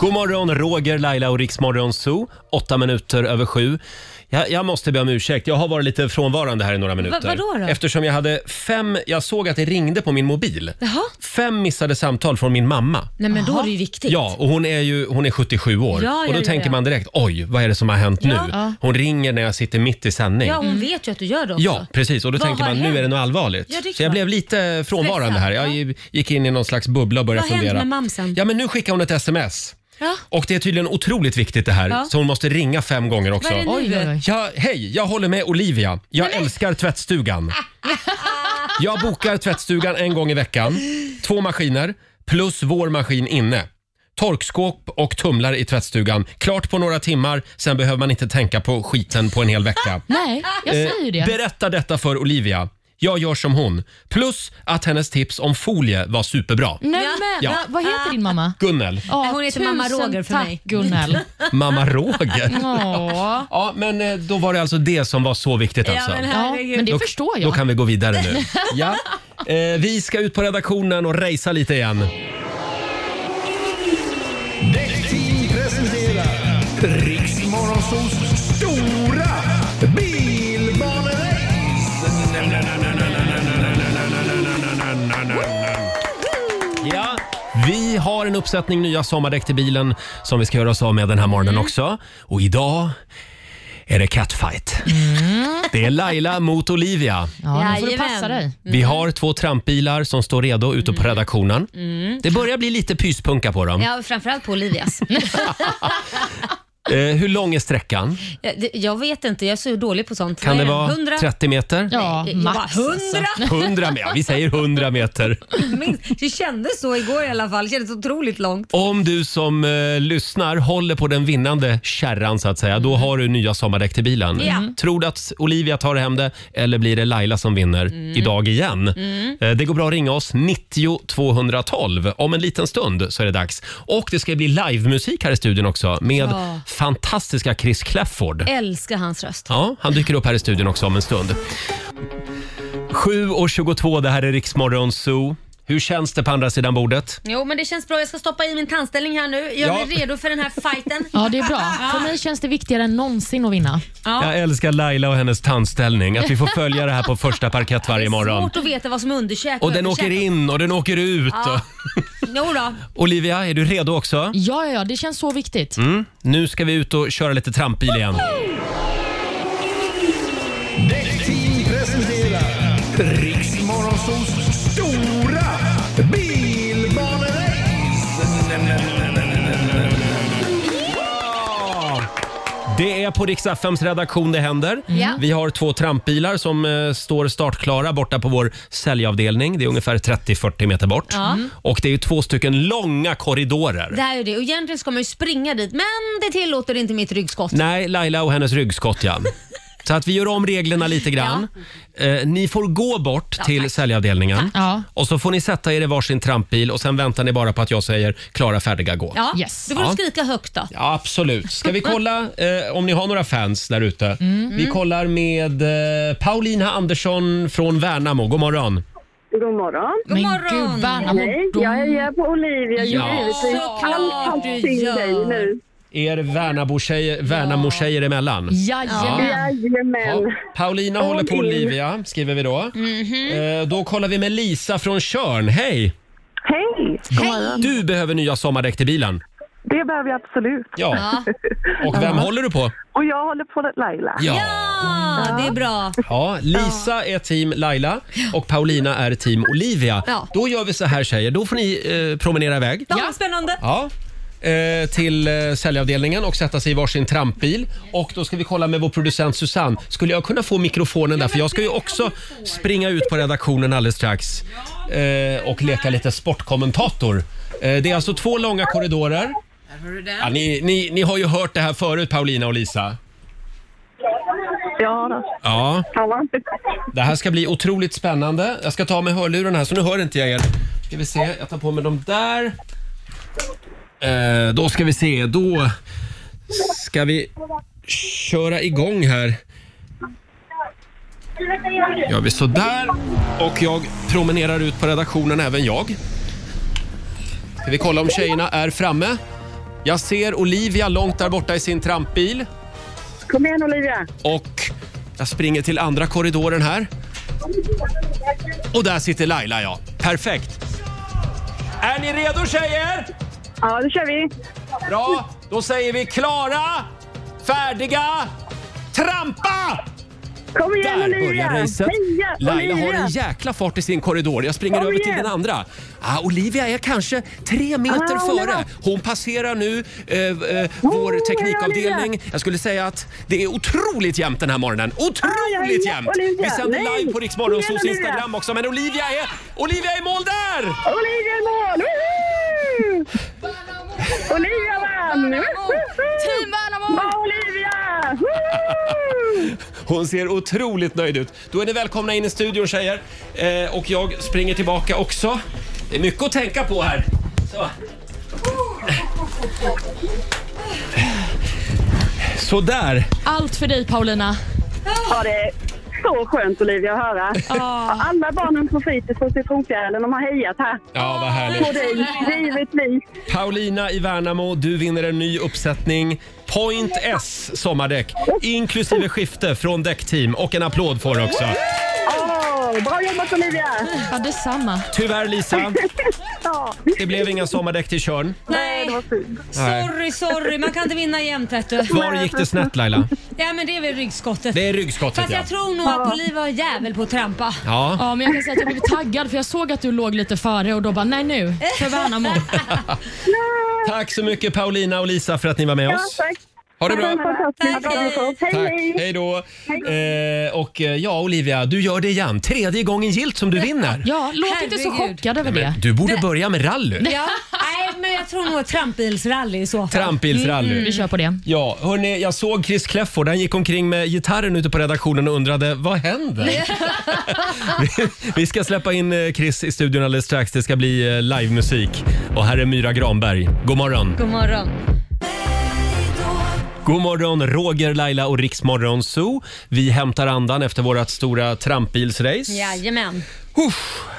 God morgon, Roger, Laila och Riksmorgon Zoo. Åtta minuter över sju. Jag, jag måste be om ursäkt, jag har varit lite frånvarande här i några minuter.
vadå då?
Eftersom jag hade fem, jag såg att det ringde på min mobil.
Jaha?
Fem missade samtal från min mamma.
Nej, men då
Jaha.
är det ju viktigt.
Ja, och hon är ju hon är 77 år.
Ja, ja,
och då
ja,
tänker
ja.
man direkt, oj, vad är det som har hänt nu?
Ja.
Hon ringer när jag sitter mitt i sändning.
Ja,
Ja,
hon vet ju att du gör det också.
precis. Och då
Vad
tänker
har
man, nu
hänt?
är det något allvarligt.
Ja, det är
Så jag
klart.
blev lite frånvarande här. Jag gi- gick in i någon slags bubbla och började
Vad har hänt
fundera.
med mamsen?
Ja, men nu skickar hon ett sms.
Ja.
Och det är tydligen otroligt viktigt det här,
Ja.
så hon måste ringa fem gånger också.
Vad är det nu?
Oj, oj, oj.
Ja, hej, jag håller med Olivia. Jag älskar tvättstugan. Jag bokar tvättstugan en gång i veckan. Två maskiner, plus vår maskin inne. Torkskåp och tumlar i tvättstugan. Klart på några timmar, sen behöver man inte tänka på skiten på en hel vecka.
Nej, jag säger ju
Eh,
det.
Berätta detta för Olivia. Jag gör som hon. Plus att hennes tips om folie var superbra.
Nej,
Ja.
Ja.
men, va- Vad heter din mamma?
Gunnel,
Ja,
Hon heter mamma
tusen
Roger för
tack,
mig.
Gunnel.
mamma Roger.
Ja,
Ja, men eh, då var det alltså det som var så viktigt alltså.
men
ja
Herregud.
men det
Då-
förstår
Då
jag.
kan vi gå vidare nu. ja. eh, vi ska ut på redaktionen och racea lite igen.
Däckteam presenterar Riksmorgonsols stora bilbanerace.
Ja. Vi har en uppsättning nya sommardäck till bilen som vi ska göra oss av med den här
Mm.
morgonen också. Och idag är det catfight.
Mm.
Det är Laila mot Olivia.
Ja, nu får du
Jajamän.
passa dig.
Vi har två trampbilar som står redo ute på
Mm.
redaktionen. Det börjar bli lite pyspunka på dem.
Ja, framförallt på Olivias.
Eh, hur lång är sträckan?
jag, det- jag vet inte, jag är så dålig på sånt.
Kan
Vad
det
är
vara
100?
30 meter?
Ja,
Jag bara,
max.
100?
alltså.
100 meter? Ja, vi säger 100 meter.
Minst. Det kändes så igår i alla fall. Det kändes otroligt långt.
Om du som eh, lyssnar håller på den vinnande kärran så att säga, då har du nya sommardäck till bilen.
Ja.
Tror du att Olivia tar hem det eller blir det Laila som vinner
Mm.
idag igen? Eh, Det går bra att ringa oss, 90 212. Om en liten stund så är det dags. Och det ska bli livemusik här i studion också med
Ja.
fantastiska Chris Clafford.
Älskar hans röst.
Ja, han dyker upp här i studion också om en stund. 7.22, det här är Riksmorgon Zoo. Hur känns det på andra sidan bordet?
Jo, men det känns bra. Jag ska stoppa i min tandställning här nu. Jag
Ja.
är redo för den här fighten.
Ja, det är bra. För mig känns det viktigare än någonsin att vinna.
Ja.
Jag älskar Laila och hennes tandställning. Att vi får följa det här på första parkett varje morgon.
Svårt att veta vad som är underkäk
Och den åker in och den åker ut.
Ja. Jo då.
Olivia, är du redo också?
Ja, ja, ja, det känns så viktigt.
Mm.
Nu ska vi ut och köra lite trampbil igen.
Däckteam presenterar Riksmorgonsols stora bilbanerace.
Det är på Rix FMs redaktion det händer.
Ja.
Vi har två trampbilar som eh, står startklara borta på vår säljavdelning. Det är ungefär 30-40 meter bort. Och det är ju två stycken långa korridorer.
Det här är det. Och egentligen ska man ju springa dit, men det tillåter inte mitt ryggskott.
Nej, Laila och hennes ryggskott ja. Så att vi gör om reglerna lite grann. Eh, ni får gå bort till säljavdelningen
Ja.
och så får ni sätta er i varsin trampbil och sen väntar ni bara på att jag säger klara, färdiga, gå.
Ja.
Yes.
Då får du
Ja.
skrika högt då.
Ja, absolut. Ska vi kolla eh, om ni har några fans där ute? Vi kollar med eh, Paulina Andersson från Värnamo. God morgon.
God morgon.
God
Men
morgon.
gud, Värnamo.
Nej,
de-
jag är här på Olivia.
Ja.
Ja, givetvis.
Såklart
Allt
du
passar till dig
gör.
nu.
Er Värnamo-tjejer Värnamo emellan.
Jajamän.
Ja.
Jajamän.
Paulina håller på Olivia, skriver vi då.
Mhm.
Eh, då kollar vi med Lisa från Körn. Hej!
Hej! God morgon.
Du behöver nya sommardäck till bilen.
Det behöver jag absolut.
Ja. Och vem håller du på?
Och jag håller på att Laila.
Ja.
Ja, det är bra.
ja. Lisa är team Laila och Paulina är team Olivia.
Ja.
Då gör vi så här tjejer, då får ni eh, promenera iväg.
Ja, vad spännande.
Ja. Eh, till eh, säljavdelningen och sätta sig i varsin trampbil. Och då ska vi kolla med vår producent Susanne. Skulle jag kunna få mikrofonen där? För jag ska ju också springa ut på redaktionen alldeles strax eh, och leka lite sportkommentator. Eh, det är alltså två långa korridorer. Ja, ni, ni, ni har ju hört det här förut Paulina och Lisa.
Ja, då.
Ja.
Ja, va?
Det här ska bli otroligt spännande. Jag ska ta med hörlurarna här, så nu hör inte jag er. Ska vi se, jag tar på mig dem där. Eh, då ska vi se, då ska vi köra igång här. Gör vi sådär. Och jag promenerar ut på redaktionen även jag. Ska vi kolla om tjejerna är framme? Jag ser Olivia långt där borta i sin trampbil
Kom igen Olivia.
och jag springer till andra korridoren här. Och där sitter Laila ja. Perfekt. Är ni redo tjejer?
Ja, då kör vi.
Bra, då säger vi klara, färdiga, trampa!
Kom igen
Där
Olivia!
börjar racet.
Heja,
Laila har
Olivia!
en jäkla fart i sin korridor. Jag springer
Kom
över till
igen.
den andra. Ah, Olivia är kanske tre meter
Ah, hon
före.
är bra.
Hon passerar nu eh, eh, vår
Olivia!
teknikavdelning. Jag skulle säga att det är otroligt jämnt den här morgonen. Otroligt
Olivia,
jämt!
Olivia,
Vi sänder
nej.
live på Rix Morgonzoos
Kom igen, Olivia.
Instagram också. Men Olivia är, Olivia är i mål där!
Olivia i mål! Woho! Olivia vann! Woho!
Team Värnamo!
Bra Olivia! Woho!
Hon ser otroligt nöjd ut. Då är ni välkomna in i studion tjejer. Eh, och jag springer tillbaka också. Det är mycket att tänka på här. Så. Sådär.
Allt för dig Paulina.
Ja, det är så skönt Olivia att höra.
Ah.
Alla barnen på fritids på Citronfjärilen, de har hejat här.
Ja, vad
På
härligt.
dig, givetvis.
Paulina i Värnamo, du vinner en ny uppsättning. Point S sommardäck, inklusive skifte från däckteam. Och en applåd får du också.
Åh, bra jobbat Olivia!
Ja, detsamma.
Tyvärr Lisa,
Ja,
det blev inga sommardäck till Tjörn.
det
Nej,
var fint.
sorry, sorry. Man kan inte vinna jämt vet du.
Var gick det snett Laila?
Ja, men det är väl ryggskottet.
Det är ryggskottet
Fast
ja.
jag tror nog att Olivia har jävel på att trampa.
Ja,
Ja, men jag kan säga att jag blev taggad för jag såg att du låg lite före och då bara nej nu, för Värnamo.
Tack så mycket Paulina och Lisa för att ni var med oss.
Tack.
Ha det
Ha en
bra.
Tack,
fantastisk dag.
hej.
Tack,
hej!
hej då. Eh, och eh, ja, Olivia, du gör det igen. Tredje gången gilt som du vinner.
Ja, låt inte så
Herregud.
chockad över det.
Men du borde börja med rally.
Ja. Nej, men jag tror nog trampbilsrally i så fall.
Trampbilsrally.
Vi kör på det.
Ja, hörni, jag såg Chris Kläfford. Han gick omkring med gitarren ute på redaktionen och undrade vad händer? vi, vi ska släppa in eh, Chris i studion alldeles strax. Det ska bli eh, livemusik. Och här är Myra Granberg. God morgon!
God morgon.
God morgon, Roger, Laila och Riksmorgon Zoo. Vi hämtar andan efter vårt stora trampbilsrace.
Jajamän.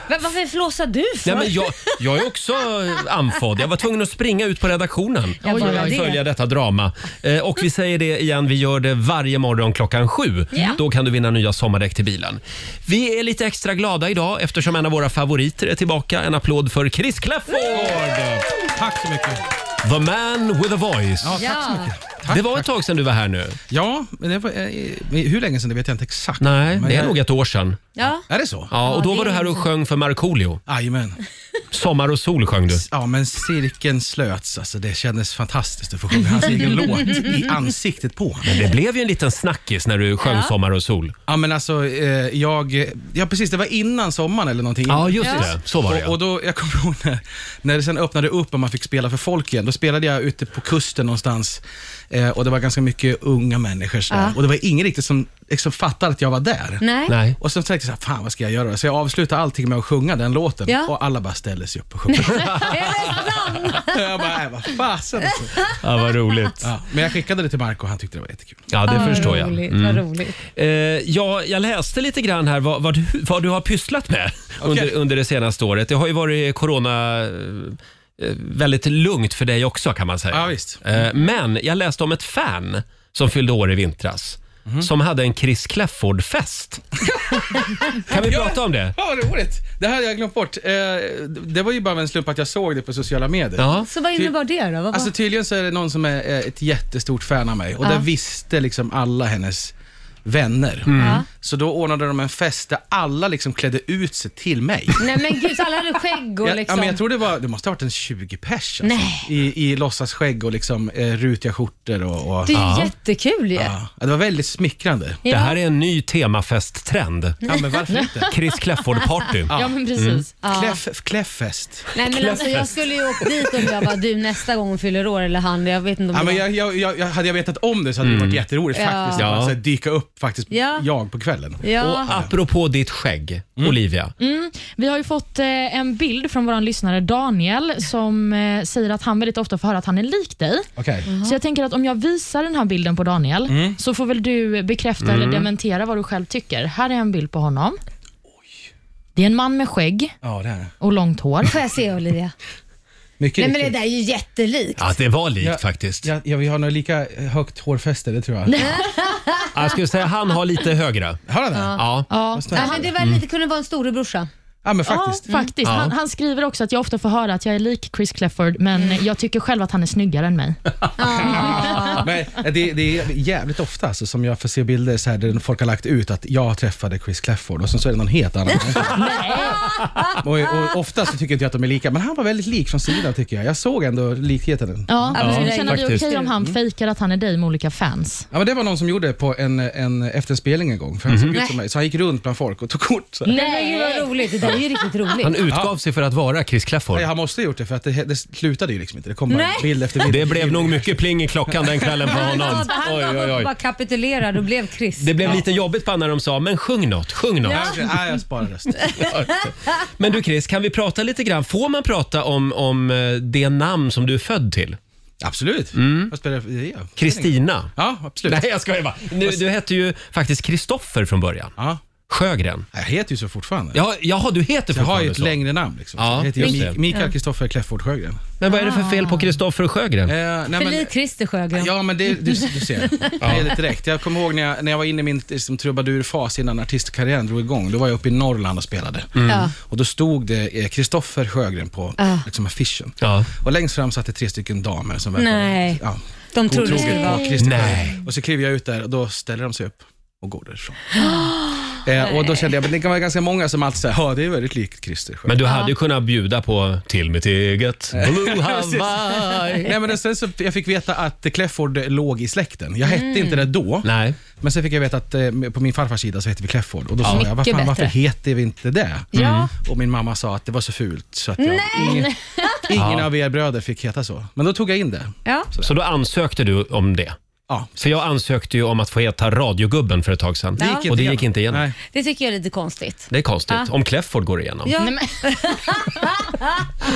Va- varför flåsar du för?
Nej, men jag, jag är också anfådd. Jag var tvungen att springa ut på redaktionen
Ja,
för
bara
att
det.
följa detta drama. Eh, och vi säger det igen, vi gör det varje morgon klockan sju.
Ja.
Då kan du vinna nya sommardäck till bilen. Vi är lite extra glada idag eftersom en av våra favoriter är tillbaka. En applåd för Chris Clafford!
Tack så mycket.
The man with a voice.
Ja, tack så
Ja.
mycket. Tack,
Det var ett
tack.
tag sedan du var här nu.
Ja, men det var, eh, hur länge sedan det vet jag inte exakt.
Nej,
men
det är
jag-
nog ett år sedan.
Ja.
Är det så?
Ja, och
Ja,
då
det
var du
är
här och sjöng för Markoolio.
Jajamän.
Sommar och sol sjöng du.
Ja, men cirkeln slöts. Alltså, det kändes fantastiskt att få sjunga hans egen låt i ansiktet på honom.
Det blev ju en liten snackis när du sjöng
Ja.
Sommar och sol.
Ja, men alltså, eh, jag... Ja, precis. Det var innan sommaren eller någonting.
Ja, just det. Så var det
Och,
ja.
och då, jag kommer ihåg när, när det sen öppnade upp och man fick spela för folk igen. Då spelade jag ute på kusten någonstans eh, och det var ganska mycket unga människor. sådär. Och det var ingen riktigt som liksom, fattade att jag var där.
Nej.
Nej.
Och sen tänkte jag, så här, fan vad ska jag göra? Så jag avslutade allting med att sjunga den låten
Ja.
och alla bara ställer sig upp och sjunger.
Är det sant?
jag bara, nej vad fasen. alltså."
Ja, vad roligt.
Ja, men jag skickade det till Marco och han tyckte det var jättekul.
Ja, det förstår jag.
Roligt, vad roligt.
Eh, ja, jag läste lite grann här vad, vad, du, vad du har pysslat med under, under det senaste året. Det har ju varit corona... eh, Väldigt lugnt för dig också kan man säga.
Ja, visst.
Eh, Men jag läste om ett fan som fyllde år i vintras.
Mhm.
Som hade en Chris Clafford-fest. kan vi prata om det?
Ja, vad roligt. Det här hade jag glömt bort. Eh, det var ju bara en slump att jag såg det på sociala medier.
Ja.
Så vad innebar det då? Vad var...
Alltså tydligen så är det någon som är eh, ett jättestort fan av mig och det visste liksom alla hennes vänner.
Ja.
Så då ordnade de en fest där alla liksom klädde ut sig till mig.
Nej men gud, så alla hade skägg och
Ja,
liksom...
ja, men jag tror det var, det måste ha varit en 20 pers alltså,
Nej.
I, i låtsasskägg och liksom eh, rutiga skjortor och, och
Det är ju
Ja.
jättekul ju.
ja. Ja, Det var väldigt smickrande.
Det här är en ny temafest-trend.
Ja, men varför inte?
Chris Clafford-party.
Ja,
Mm.
men precis.
Kläff, kläfffest.
Nej men alltså jag skulle ju åkt dit om jag var du nästa gång hon fyller år eller han. Jag vet inte om
Ja,
det
men
var-
jag, jag, jag, jag, hade jag vetat om det så hade det varit jätteroligt
Ja.
Mm.
faktiskt.
Ja.
Att så här, dyka upp faktiskt,
Ja.
jag på kvällen.
Ja.
Och apropå ditt skägg,
Mm.
Olivia.
Vi har ju fått eh, en bild från vår lyssnare Daniel som eh, säger att han väldigt ofta får höra att han är lik dig.
Okej.
Så jag tänker att om jag visar den här bilden på Daniel
Mm.
så får väl du bekräfta eller dementera vad du själv tycker. Här är en bild på honom. Det är en man med skägg
Ja, det här.
och långt hår.
Får jag se Olivia?
Mycket
Nej men det
riktigt.
där är ju jättelikt.
Ja, det var likt
Ja,
faktiskt.
Ja, ja, vi har nog lika högt hårfäste, det tror jag.
Ja, Jag skulle säga han har lite högre.
Har han det?
Ja.
Ja.
Vad snällt.
Nej, men det var lite, kunde vara en storebrorsa.
Ja, men faktiskt.
Ja, faktiskt.
Mm.
Han, han skriver också att jag ofta får höra att jag är lik Chris Clefford, men
Mm.
jag tycker själv att han är snyggare än mig.
Men eh, det, det är jävligt ofta alltså, som jag får se bilder så här, där folk har lagt ut att jag träffade Chris Clefford och sen så är det någon helt annan. och, och ofta så tycker inte jag att de är lika, men han var väldigt lik från sidan tycker jag. Jag såg ändå likheten.
Ja,
men
men
det är Mm.
Känner du okej
faktiskt.
om han fejkar att han är dig med olika fans?
Ja, men det var någon som gjorde det på en, en, efter en spelning en gång, för han såg ut som mig. Så han gick runt bland folk och tog kort.
Mm.
Så här.
Nej, men gud vad roligt. Det där är ju riktigt roligt.
Han utgav sig för att vara Chris Clafford.
Nej, han måste ha gjort det, för att det, det slutade ju liksom inte. Det kom bara
Nej.
bild efter bild.
Det blev nog mycket pling i klockan den kvällen på
Han
honom.
gav, han
Oj,
gav
oj,
upp och
oj.
bara kapitulerade och blev Chris.
Det blev lite jobbigt på när de sa, men sjung något, sjung något.
Nej, Nej, jag sparar rösten.
Men du Chris, kan vi prata lite grann? Får man prata om, om eh, det namn som du är född till?
Absolut. Vad spelar det för det är-
Mm. Kristina?
Ja, absolut.
Nej, jag skojar bara. Nu, du hette ju faktiskt Kristoffer från början.
Ja.
Sjögren.
Jag heter ju så fortfarande.
Ja, jaha, du heter
Jag har
fortfarande
ju ett
så.
längre namn. Liksom.
Ja,
jag heter ju
just det.
Mik- Mikael Kristoffer Kläfford Sjögren. Eh,
Men vad är det för fel på Kristoffer och Sjögren?
nej,
För
men-
lik Christer Sjögren.
Ja, men det, du, du ser. Det är det direkt. Jag kommer ihåg när jag, när jag var inne i min liksom, trubadurfas innan artistkarriären drog igång. Då var jag uppe i Norrland och spelade.
Mm. Ja.
Och då stod det eh, Kristoffer Sjögren på
Ja.
liksom, affischen.
Ja.
Och längst fram satt det tre stycken damer som
Nej.
ja,
De trodde det skulle
otroget
vara...
på Kristoffer.
Nej.
Och så klev jag ut där och då ställer de sig upp och går därifrån. eh, och då kände jag, men det kan vara ganska många som alltid säger, ja det är väldigt likt Christer Sjögren.
Men du hade ju kunnat bjuda på till mitt eget Blue
Precis.
Hawaii.
Nej, men och sen så jag fick veta att Clefford låg i släkten. Jag hette inte det då,
Mm. Nej.
men sen fick jag veta att eh, på min farfars sida så hette vi Clefford. Och då sa jag, vad
Mycket
fan, varför
bättre.
heter vi inte det? Mm.
Ja.
Och min mamma sa att det var så fult, så att jag, ingen, ingen av er bröder fick heta så. Men då tog jag in det.
Ja.
Så då ansökte du om det?
Ja,
För jag ansökte ju om att få heta radiogubben för ett tag sedan.
gick inte
Och det gick inte igenom.
Nej.
Det tycker jag är lite konstigt.
Det är konstigt. Om Clefford går igenom.
Ja.
Nej, men,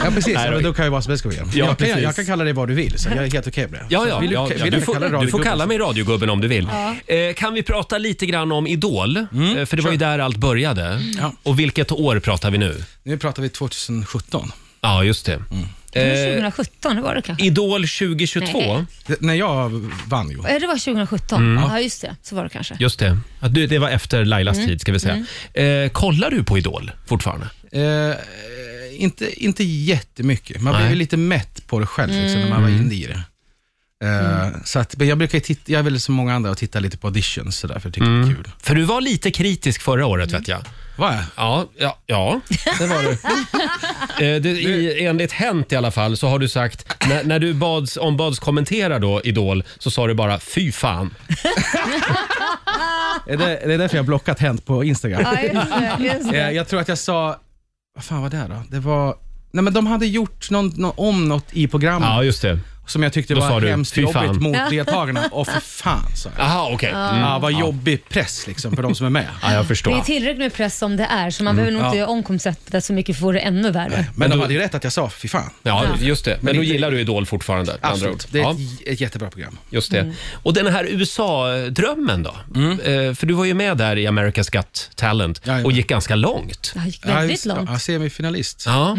Ja, precis.
Nej,
Ja,
då-
men då kan ju vad som helst gå igenom.
Ja,
jag, kan,
precis.
jag kan kalla dig vad du vill, så jag är helt okej med det.
Ja, ja,
vill du,
ja,
vill
ja.
jag
Du, får,
kalla
du får
radiogubben
kalla
så-
mig radiogubben om du vill. Eh, kan vi prata lite grann om Idol? eh, för det var ju där allt började.
Ja.
Och vilket år pratar vi nu?
Nu pratar vi 2017.
Ja, just det. Eh.
Det var 2017, det var det kanske?
Idol 2022.
Nej.
Det- När jag vann ju.
Ja, det var 2017. Ja, just det. Så var det kanske.
Just det. Ja, du, det var efter Lailas
Mm.
tid, ska vi säga. Eh, kollar du på Idol fortfarande?
Eh, inte, inte jättemycket. Man blev ju lite mätt på det själv liksom, när man
Mm.
var inne i det. Eh, så att, men jag brukar ju titta, jag är väl som många andra och titta lite på auditions så där, för jag tycker det är kul.
För du var lite kritisk förra året,
Mm.
vet jag.
Vad är
Ja, ja, ja. det var du. Eh, det, i, enligt Hänt i alla fall så har du sagt, när, när du bads, ombads kommentera då Idol så sa du bara fy fan.
Mm. det? det? Det är därför jag har blockat Hänt på Instagram.
Ja, just det. Just
Eh,
det.
jag tror att jag sa, vad fan var det då? Det var, nej men de hade gjort någon, nå- om något i programmet
Ja, just det.
som jag tyckte
Då sa
var
du,
hemskt
"Fy
jobbigt
fan."
mot deltagarna. Och för fan sa jag.
Aha, okej. Mm.
Ja, vad jobbig press liksom för de som är med.
Ja, jag
Det är
förstår.
tillräckligt med press som det är, så man behöver nog inte
Ja.
göra omkonceptet så mycket för att få det ännu värre.
Men, de hade ju rätt att jag sa, fy fan.
Ja, just det. Men då
inte-
gillar du Idol fortfarande? med andra ord.
Absolut, det är
Ja,
ett, j- ett jättebra program.
just det. Och den här USA-drömmen då?
Mm.
Eh, för du var ju med där i America's Got Talent
Jajamän.
och gick ganska långt.
Det gick
Ja,
väldigt
just-
långt.
Ja, semifinalist.
Ja,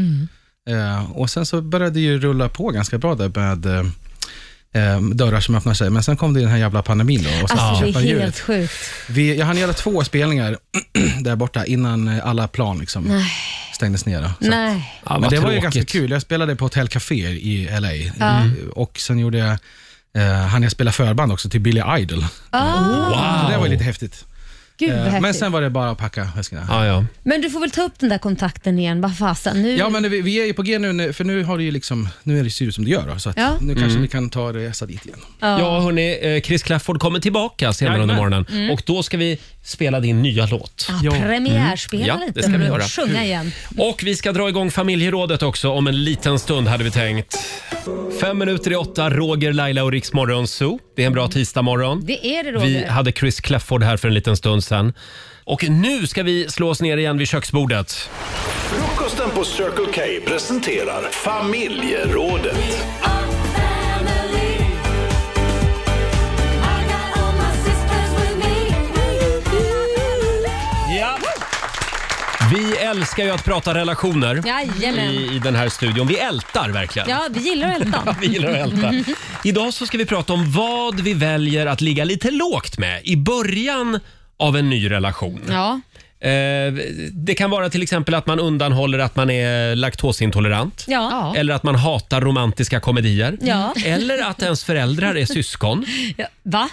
Eh, och sen så började det ju rulla på ganska bra där med eh, eh, dörrar som öppnar sig. Men sen kom det den här jävla pandemin då. Och sen
Alltså det
käppar
är
hjulet.
helt sjukt.
Vi, jag hann göra två spelningar där borta innan eh, alla plan liksom stängdes ner. då. Så-
Nej.
ja
Men det
vad
var ju
tråkigt.
ganska kul. Jag spelade på Hotel Café i LA. Och sen gjorde jag, eh, hann jag spela förband också till Billy Idol.
Mm.
Så det var ju lite häftigt.
Ah, Gud vad
Eh, men
häftigt.
sen var det bara att packa väskorna.
Ja, ja.
Men du får väl ta upp den där kontakten igen, vad fasen. Nu...
Ja, men vi, vi är ju på G nu, nu, för nu har det ju liksom, nu är det ju som det gör. Då, så att
Ja.
nu kanske vi kan ta resa dit igen.
Ja, hörni, eh, Chris Clafford kommer tillbaka senare under
Jajamän.
morgonen och då ska vi spela din nya låt.
ja, ah, premiärspela
Mm. Ja,
lite
det ska vi
och
göra.
sjunga igen.
Och vi ska dra igång familjerådet också om en liten stund hade vi tänkt. Fem minuter i åtta, Roger, Laila och Riks Morgonzoo. Det är en bra tisdagmorgon.
Det är det
Vi
Roger.
hade Chris Clafford här för en liten stund sedan. Och nu ska vi slå oss ner igen vid köksbordet.
Frukosten på Circle K presenterar Familjerådet.
Vi älskar ju att prata relationer
Jajamän.
i, i den här studion. Vi ältar verkligen.
Ja, vi gillar att älta.
Vi gillar att älta. Idag så ska vi prata om vad vi väljer att ligga lite lågt med i början av en ny relation.
Ja,
Eh, det kan vara till exempel att man undanhåller att man är laktosintolerant.
ja,
Ja.
Eller att man hatar romantiska komedier.
Ja.
Eller att ens föräldrar är syskon.
ja. Va?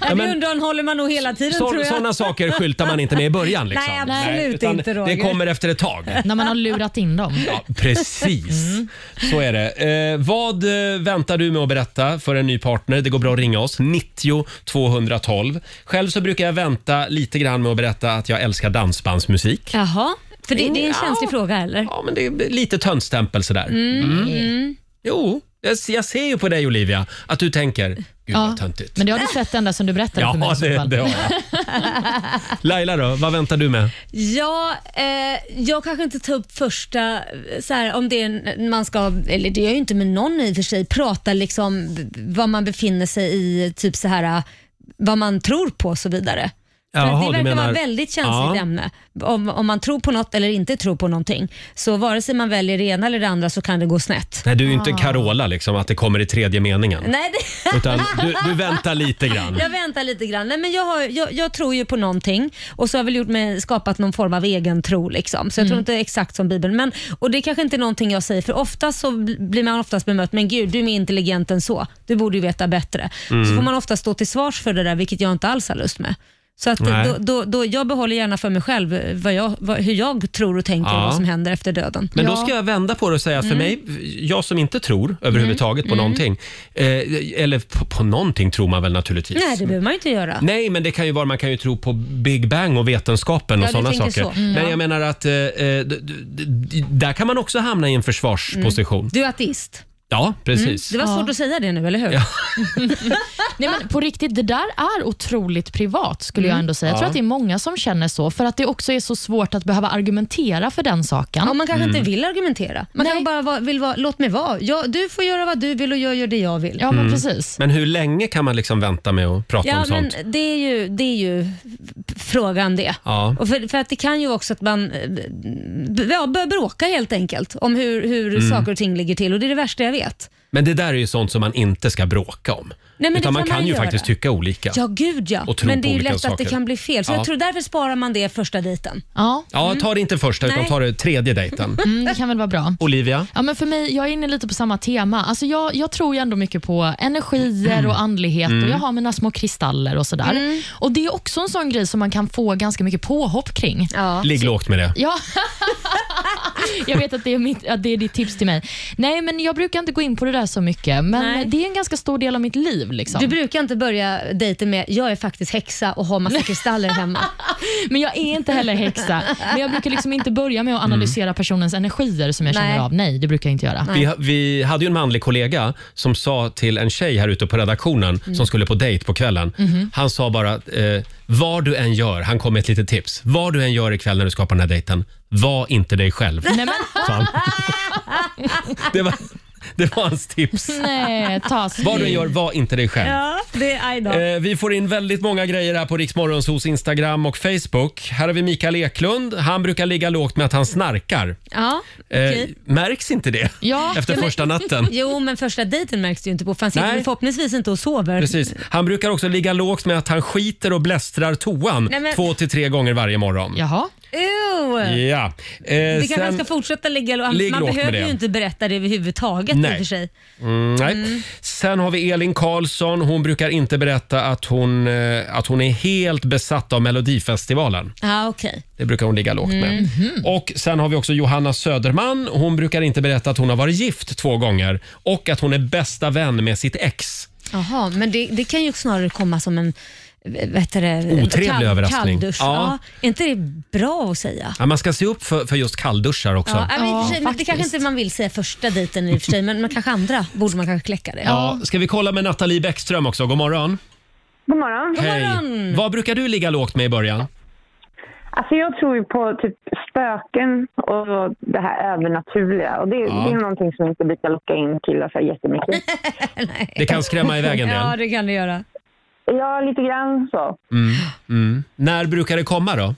ja,
men-
det undanhåller man nog hela tiden tror jag.
Sådana saker skyltar man inte med i början. Liksom.
Nej, absolut
utan
inte, Roger.
Det kommer efter ett tag.
När man har lurat in dem.
Ja, precis.
Mm.
Så är det. Eh, vad eh, väntar du med att berätta för en ny partner? Det går bra att ringa oss. 90 212. Själv så brukar jag vänta lite grann med att berätta att jag älskar dansbandsmusik.
Jaha, för det, det är en
Ja.
känslig fråga eller?
Ja, men det är lite töntstämpel sådär. Mm. Jo, jag, jag ser ju på dig Olivia att du tänker, gud
Ja.
vad töntigt.
Men det har du sett ända sedan du berättade för mig.
Ja,
i så
det,
fall.
det har jag. Laila då, vad väntar du med?
Ja, eh, jag kanske inte tar upp första, eh, så här, om det är en, man ska, eller det gör jag ju inte med någon i och för sig, prata liksom v- vad man befinner sig i, typ så här eh, vad man tror på och så vidare. För
Jaha, du
att det verkar
menar-
vara väldigt känsligt
Ja.
ämne. Om, om man tror på något eller inte tror på någonting. Så vare sig man väljer det ena eller det andra så kan det gå snett.
Nej, du är ju inte Carola liksom, att det kommer i tredje meningen.
Nej, det,
Utan du, du väntar lite grann.
Jag väntar lite grann. Nej, men jag, har, jag, jag tror ju på någonting och så har jag väl gjort mig, skapat någon form av egen tro. Liksom. Så jag
Mm.
tror inte exakt som Bibeln. Men, och det är kanske inte är någonting jag säger för oftast så bl- blir man oftast bemött men gud du är mer intelligent än så. Du borde ju veta bättre.
Mm.
Så får man ofta stå till svars för det där vilket jag inte alls har lust med. Så att eh,
Nej.
då, då, då, jag behåller gärna för mig själv eh, vad jag, vad, hur jag tror och tänker
Ja.
och vad som händer efter döden.
Men då
Ja.
ska jag vända på det och säga att för
Mm.
mig, jag som inte tror överhuvudtaget på någonting, eh, eller på, på någonting tror man väl naturligtvis.
Nej, det behöver man ju inte göra.
Nej, men det kan ju vara, man kan ju tro på Big Bang och vetenskapen och
Ja, du
sådana saker.
tänker så. Mm,
men
ja.
jag menar att eh, eh, d- d- d- där kan man också hamna i en försvarsposition.
Du är ateist.
Ja, precis.
Mm. Det var svårt
Ja.
att säga det nu, eller hur?
Ja.
Nej, men på riktigt, det där är otroligt privat skulle jag ändå säga. Jag tror att det är många som känner så, för att det också är så svårt att behöva argumentera för den saken.
Ja, man kanske
Mm.
inte vill argumentera. Man
Nej.
kanske bara va- vill vara, låt mig vara. Jag, du får göra vad du vill och jag gör det jag vill.
Ja, men precis.
Men hur länge kan man liksom vänta med att prata om
Ja, men
sånt?
det är ju, det är ju f- frågan det.
Ja.
Och för, för att det kan ju också att man eh, b- b- ja, börjar bråka helt enkelt om hur, hur
Mm.
saker och ting ligger till och det är det värsta jag vet.
Men det där är ju sånt som man inte ska bråka om.
men det
Utan man
kan
kan
man
ju
göra.
faktiskt tycka olika.
Ja, gud ja.
Och tro
Men
på
det är ju
olika
lätt att
saker.
det kan bli fel. Så
Ja.
jag tror därför sparar man det första dejten.
Ja,
Ja, ta det inte första utan
mm. Nej.
ta det tredje dejten.
mm, det kan väl vara bra.
Olivia?
Ja, men för mig, jag är inne lite på samma tema. Alltså jag, jag tror ju ändå mycket på energier och andlighet och jag har mina små kristaller och sådär. Och Det är också en sån grej som man kan få ganska mycket påhopp kring.
Ja.
Ligg lågt med det.
Ja. jag vet att det, är mitt, att det är ditt tips till mig. Nej, men jag brukar inte gå in på det där så mycket, men
Nej.
det är en ganska stor del av mitt liv. Liksom.
Du brukar inte börja dejten med “jag är faktiskt häxa och har massa kristaller hemma”.
Men jag är inte heller häxa. Men jag brukar liksom inte börja med att
Mm.
analysera personens energier som jag känner
Nej.
av. Nej, det brukar jag inte göra.
Vi, vi hade ju en manlig kollega som sa till en tjej här ute på redaktionen
Mm.
som skulle på dejt på kvällen.
Mm-hmm.
Han sa bara, eh, vad du än gör, han kom med ett litet tips. Vad du än gör ikväll när du ska på den här dejten, var inte dig själv.
Nej, men,
sa han. det, var, det var hans tips.
nej, ta
Vad du än gör, var inte dig själv.
Ja, det är I know.
Eh, vi får in väldigt många grejer här på Riksmorgons hos Instagram och Facebook. Här har vi Mikael Eklund. Han brukar ligga lågt med att han snarkar.
Ja,
Eh,
okej.
Märks inte det
Ja,
efter första natten?
Jo, men första dejten märks det ju inte på för han sitter
Nej.
väl förhoppningsvis inte och sover.
Precis. Han brukar också ligga lågt med att han skiter och blästrar toan
Nej, men-
två till tre gånger varje morgon.
Jaha.
Ew.
Ja. Eh,
Vi kanske
sen-
ska fortsätta ligga lågt.
Ligg
Man
lågt med
behöver
det.
ju inte berätta det överhuvudtaget i
Nej.
och för sig.
Mm, nej. Sen har vi Elin Karlsson. Hon brukar inte berätta att hon, eh, att hon är helt besatt av Melodifestivalen.
Ja, okej.
Det brukar hon ligga lågt med.
Mhm.
Och Sen har vi också Johanna Söderman. Hon brukar inte berätta att hon har varit gift två gånger och att hon är bästa vän med sitt ex.
Jaha, men det, det kan ju snarare komma som en vad heter det,
Otrevlig överraskning.
Kalldusch.
Ja.
Ja. Är inte det bra att säga?
Ja, man ska se upp för, för just kallduschar också.
Ja, men i och för sig,
Ja,
men det kanske
faktiskt.
inte man vill säga första dejten i och för sig, men men kanske andra borde man kanske kläcka det.
Ja, ska vi kolla med Nathalie Bäckström också? God morgon.
God morgon.
Hej. Vad brukar du ligga lågt med i början?
Alltså jag tror ju på typ spöken och det här övernaturliga. Och det, det är någonting som inte brukar locka in killar så här jättemycket.
Det kan skrämma iväg en del.
Ja, det kan du göra.
Ja, lite grann så.
Mm. När brukar det komma då?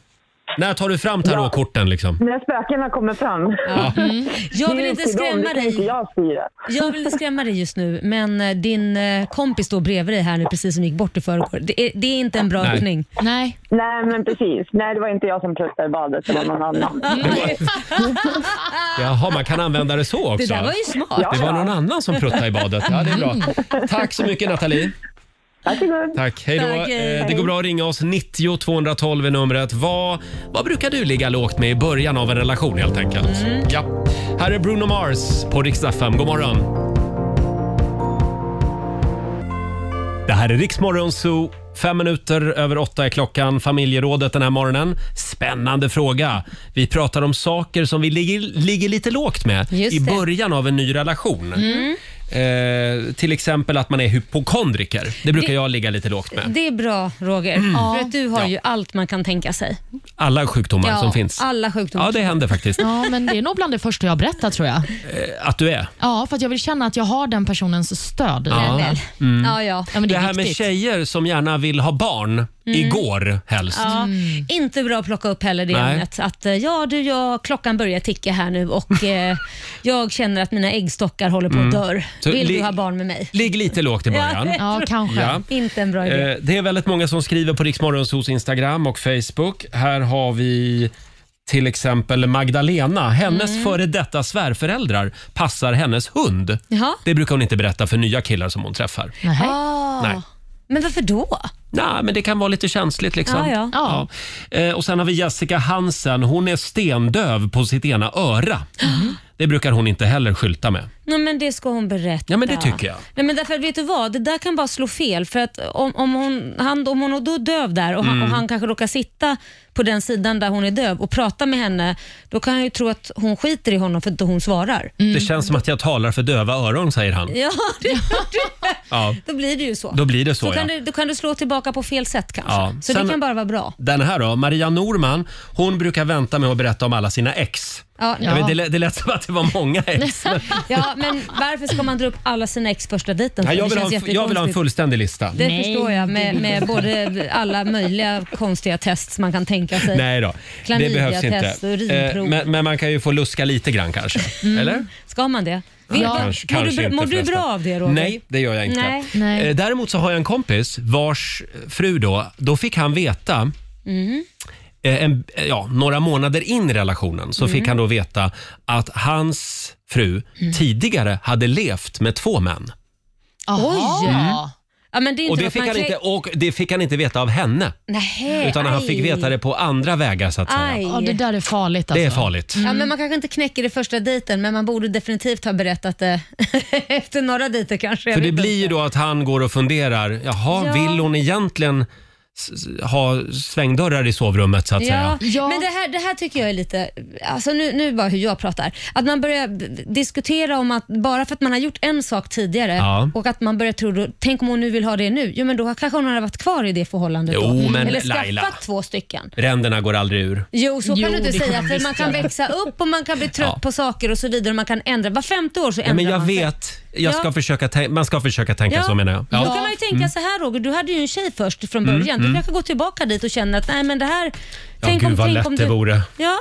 När tar du fram tarotkorten liksom?
När spökena kommer fram.
Jag vill
Det är
inte
upp till dem,
skrämma
det kan inte
dig.
jag styra.
Jag vill inte skrämma dig just nu, men eh, din eh, kompis står bredvid dig här nu precis som gick bort i förrgår. Det är, det är inte en bra
Nej.
öppning.
Nej.
Nej, men precis. Nej, det var inte jag som pluttade i badet, det var någon annan.
Jaha, man kan använda det så
Det
också.
där var ju smart.
Det var någon annan som pruttade i badet. Ja, det är bra. Tack så mycket Nathalie.
Varsågod.
Tack, hej då.
Tack, hej.
Eh, Det går bra att ringa oss, 90 212 är numret. Vad, vad brukar du ligga lågt med i början av en relation helt enkelt?
Mm.
Ja. Här är Bruno Mars på riksdag 5. God morgon. Det här är Riksmorgon Zoo. Fem minuter över åtta är klockan. Familjerådet den här morgonen. Spännande fråga. Vi pratar om saker som vi ligger, ligger lite lågt med
Just
i
det. Mm.
början av en ny relation. Eh, till exempel att man är hypokondriker. Det brukar jag ligga lite lågt med.
Det är bra Roger, för att du har
Mm. Ja.
ju allt man kan tänka sig.
Alla sjukdomar som finns.
Alla sjukdomar.
Ja, det händer faktiskt.
Ja, men det är nog bland det första jag berättar tror jag.
Att du är.
Ja, för att jag vill känna att jag har den personens stöd.
Ja. Mm.
Väl. Ja, ja.
Ja, men det
Det
är
här med
viktigt.
tjejer som gärna vill ha barn igår helst.
Ja, Inte bra att plocka upp heller det
Mm. Nej.
ämnet. Att, eh, ja, du, jag, klockan börjar ticka här nu och eh, jag känner att mina äggstockar håller på att dör.
Mm. Så
Vill
li-
du ha barn med mig?
Ligg lite lågt i början.
Ja.
Ja, kanske.
Ja.
Inte en bra idé.
Eh, Det är väldigt många som skriver på Riksmorgonsos Instagram och Facebook. Här har vi till exempel Magdalena. Hennes före detta svärföräldrar passar hennes hund.
Jaha.
Det brukar hon inte berätta för nya killar som hon träffar.
Nähä.
Ah.
Nej.
Men varför då?
Nej, men det kan vara lite känsligt liksom.
Ja, ja.
Ja. Eh, Och sen har vi Jessica Hansen. Hon är stendöv på sitt ena öra. Det brukar hon inte heller skylta med.
Nej, men det ska hon berätta.
Ja, men det tycker jag.
Nej, men därför, vet du vad? Det där kan bara slå fel. För att om, om, hon, han, om hon är då döv där och,
Mm.
han, och han kanske råkar sitta på den sidan där hon är döv och prata med henne, då kan han ju tro att hon skiter i honom för att inte hon svarar.
Det känns som att jag talar för döva öron, säger han.
Ja, det,
Ja.
då blir det ju så.
Då blir det så,
då, kan
ja.
du, då kan du slå tillbaka på fel sätt kanske.
Ja.
Så
Sen-
det kan bara vara bra.
Den här då, Maria Norman, hon brukar vänta med att berätta om alla sina ex.
Ja,
Jag
ja.
vet, det, lät, det lät som att det var många ex. men-
men varför ska man dra upp alla sina ex första dejten?
Ja, jag,
Det
vill ha
känns
en, jag vill ha en
jättekonstigt.
fullständig lista.
Det
Nej.
förstår jag med, med både alla möjliga konstiga test man kan tänka sig.
Nej då, det behövs inte.
Klamydiatest och urinprov. Mm.
Eh, Men, men man kan ju få luska lite grann kanske. Eller?
Ska man det? Vill,
Ja.
vad-
Kanske,
mår
kanske
du,
inte
mår du
förresten.
bra av det Roger?
Nej, det gör jag inte.
Nej.
Nej.
Eh, Däremot så har jag en kompis vars fru då, då fick han veta
Mhm.
eh, en, eh, ja, några månader in i relationen så
Mhm.
fick han då veta att hans fru tidigare hade levt med två män.
Jaha.
Ja, men det är inte
Och det,
något
fick
man
han
kan-
inte, och det fick han inte veta av henne.
Nej,
Utan han
aj.
fick veta det på andra vägar så att säga.
Aj.
Ja, det där är farligt alltså.
Det är farligt.
Ja, men man kanske inte knäcker det första dejten, men man borde definitivt ha berättat det efter några dejter kanske. jag
För det
vet
blir ju
inte.
då att han går och funderar. Jaha,
Ja.
vill hon egentligen s- s- ha svängdörrar i sovrummet så att
Ja,
säga?
Ja.
men det här, det här tycker jag är lite, alltså nu, nu bara hur jag pratar, att man börjar d- diskutera om att bara för att man har gjort en sak tidigare
Ja.
och att man börjar tro, då, tänk om hon nu vill ha det nu, jo men då kanske hon har varit kvar i det förhållandet
Jo,
då.
men
Eller skaffat
Laila.
två stycken.
Ränderna går aldrig ur.
Jo, så
Jo,
kan du
det
inte säga,
kan man
för
visst
man kan
göra.
växa upp och man kan bli trött
Ja.
på saker och så vidare och man kan ändra, var femte år så ändrar
Ja, men jag
man sig.
vet. Jag ska
Ja.
försöka tän- man ska försöka tänka så menar jag. Mm.
Då kan man ju tänka så här Roger, du hade ju en tjej först från början. Du kanske går tillbaka dit och känner att nej men det här...
Ja, gud vad lätt det vore.
Ja.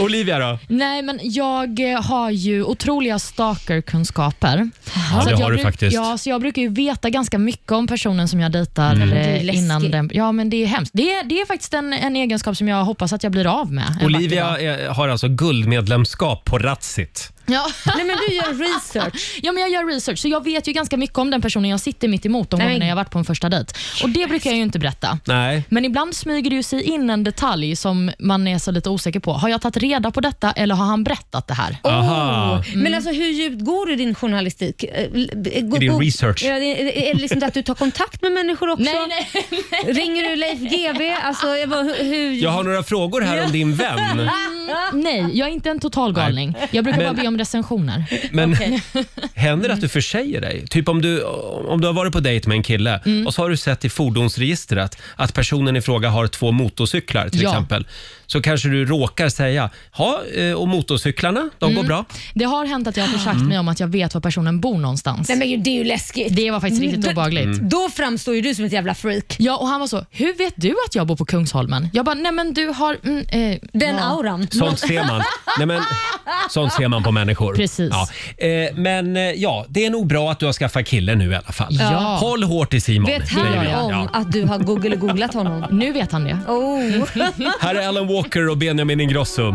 Olivia då?
Nej, men jag eh, har ju otroliga stalkerkunskaper.
Ja,
Så
det
att jag
har du
bruk-
faktiskt.
Ja, så jag brukar ju veta ganska mycket om personen som jag dejtar
Mm.
är
eh,
läskigt.
innan den... Ja, men det är hemskt. Det är, det är faktiskt en, en egenskap som jag hoppas att jag blir av med. en vacker dag.
Olivia eh, har alltså guldmedlemskap på Ratsit.
Ja.
Nej men du gör research.
ja, men jag gör research, så jag vet ju ganska mycket om den personen jag sitter mitt emot de
Nej, men-
gångerna jag varit på en första dejt. Och det brukar jag ju inte berätta.
Nej.
Men ibland smyger det ju sig in en detalj som man är så lite osäker på. Har jag tagit reda på detta eller har han berättat det här?
Aha.
Men alltså hur djupt går du i din journalistik? Eh, l- eh, Går,
I din
går-
research.
Ja, det, är- är det liksom det att du tar kontakt med människor också?
Nej, nej, nej.
Ringer du Leif GW? Alltså, jag bara, hur, hur...
Jag har några frågor här om din vän.
Nej, jag är inte en total galning. Jag brukar bara be om om recensioner.
Men händer det att du försäger dig? Typ om du, om du har varit på dejt med en kille och så har du sett i fordonsregistret att personen i fråga har två motorcyklar till
Ja.
exempel. Så kanske du råkar säga, ja, eh, och motorcyklarna, de går bra.
Det har hänt att jag har försagt mig om att jag vet var personen bor någonstans.
Nej men gud, det är ju läskigt.
Det var faktiskt riktigt
Mm.
obehagligt.
Då framstår ju du som ett jävla freak.
Ja, och han var så, hur vet du att jag bor på Kungsholmen? Jag bara, nej men du har... Mm, eh,
Den
ja.
auran.
Sånt ser man. Nej, men, sånt ser man på människor.
Precis.
Ja. Eh, men eh, ja, det är nog bra att du har skaffat kille nu i alla fall.
Ja.
Håll hårt i Simon.
Vet
säger
han
vi.
om
Ja.
att du har google googlat honom?
Nu vet han det.
Oh.
Här är Alan Walker och Benjamin Ingrosso.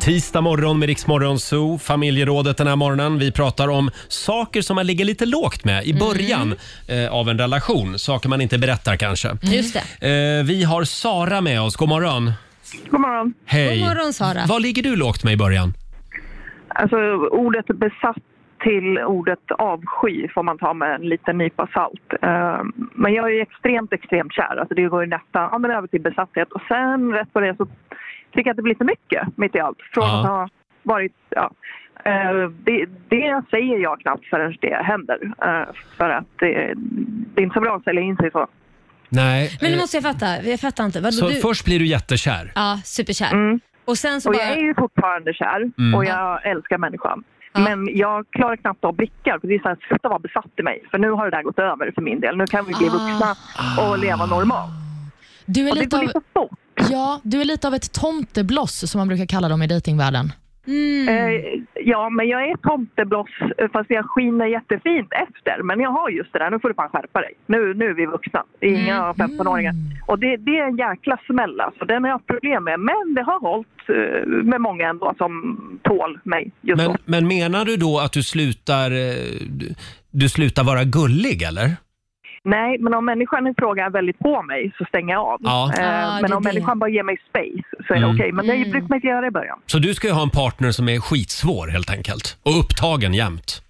Tisdag morgon med Riksmorgon Zoo, familjerådet den här morgonen. Vi pratar om saker som man ligger lite lågt med i början eh, av en relation. Saker man inte berättar kanske.
Just det.
Eh, vi har Sara med oss, god morgon.
God morgon.
Hej.
God morgon, Sara.
Vad ligger du lågt med i början?
Alltså ordet besatt till ordet avsky får man ta med en liten nypa salt. Eh, Men jag är ju extremt, extremt kär. Alltså det går ju nästan ja, men över till besatthet. Och sen rätt på det så tycker jag att det blir för mycket mitt i allt. Från
Ja.
att ha varit... Ja. Eh, Det, det säger jag knappt förrän det händer. Eh, För att det, det är inte så bra att sälja in sig så.
Nej.
Men nu
eh,
måste jag fatta. Jag fattar inte. Vadå
så
du?
först blir du jättekär.
Ja, superkär.
Mm.
Och sen så
Och
bara...
jag är ju fortfarande kär
Mm.
och jag älskar människan.
Ja.
Men jag klarar knappt av blickar. För det är så här, sluta vara besatt i mig. För nu har det där gått över för min del. Nu kan vi bli
Ah.
vuxna och leva normalt.
Du är,
Och det
lite
går
av,
lite fort.
ja, du är lite av ett tomtebloss, som man brukar kalla dem i dejtingvärlden.
Eh, ja, men jag är tomtebloss eh, fast jag skiner jättefint efter. Men jag har just det där, nu får du fan skärpa dig. Nu, nu är vi vuxna, det är inga 15-åringar. Och det, det är en jäkla smäll alltså. Den har jag haft problem med. Men det har hållit eh, med många ändå som tål mig just
Men,
då.
men menar du då att du slutar, eh, du- du slutar vara gullig eller?
Nej, men om människan i fråga är väldigt på mig så stänger jag av.
Ja.
Eh,
Ah, det
men
är
om
det.
människan bara ger mig space så är det
Mm.
okej. Men det brukar man inte göra i början.
Så du ska ju ha en partner som är skitsvår helt enkelt och upptagen jämt.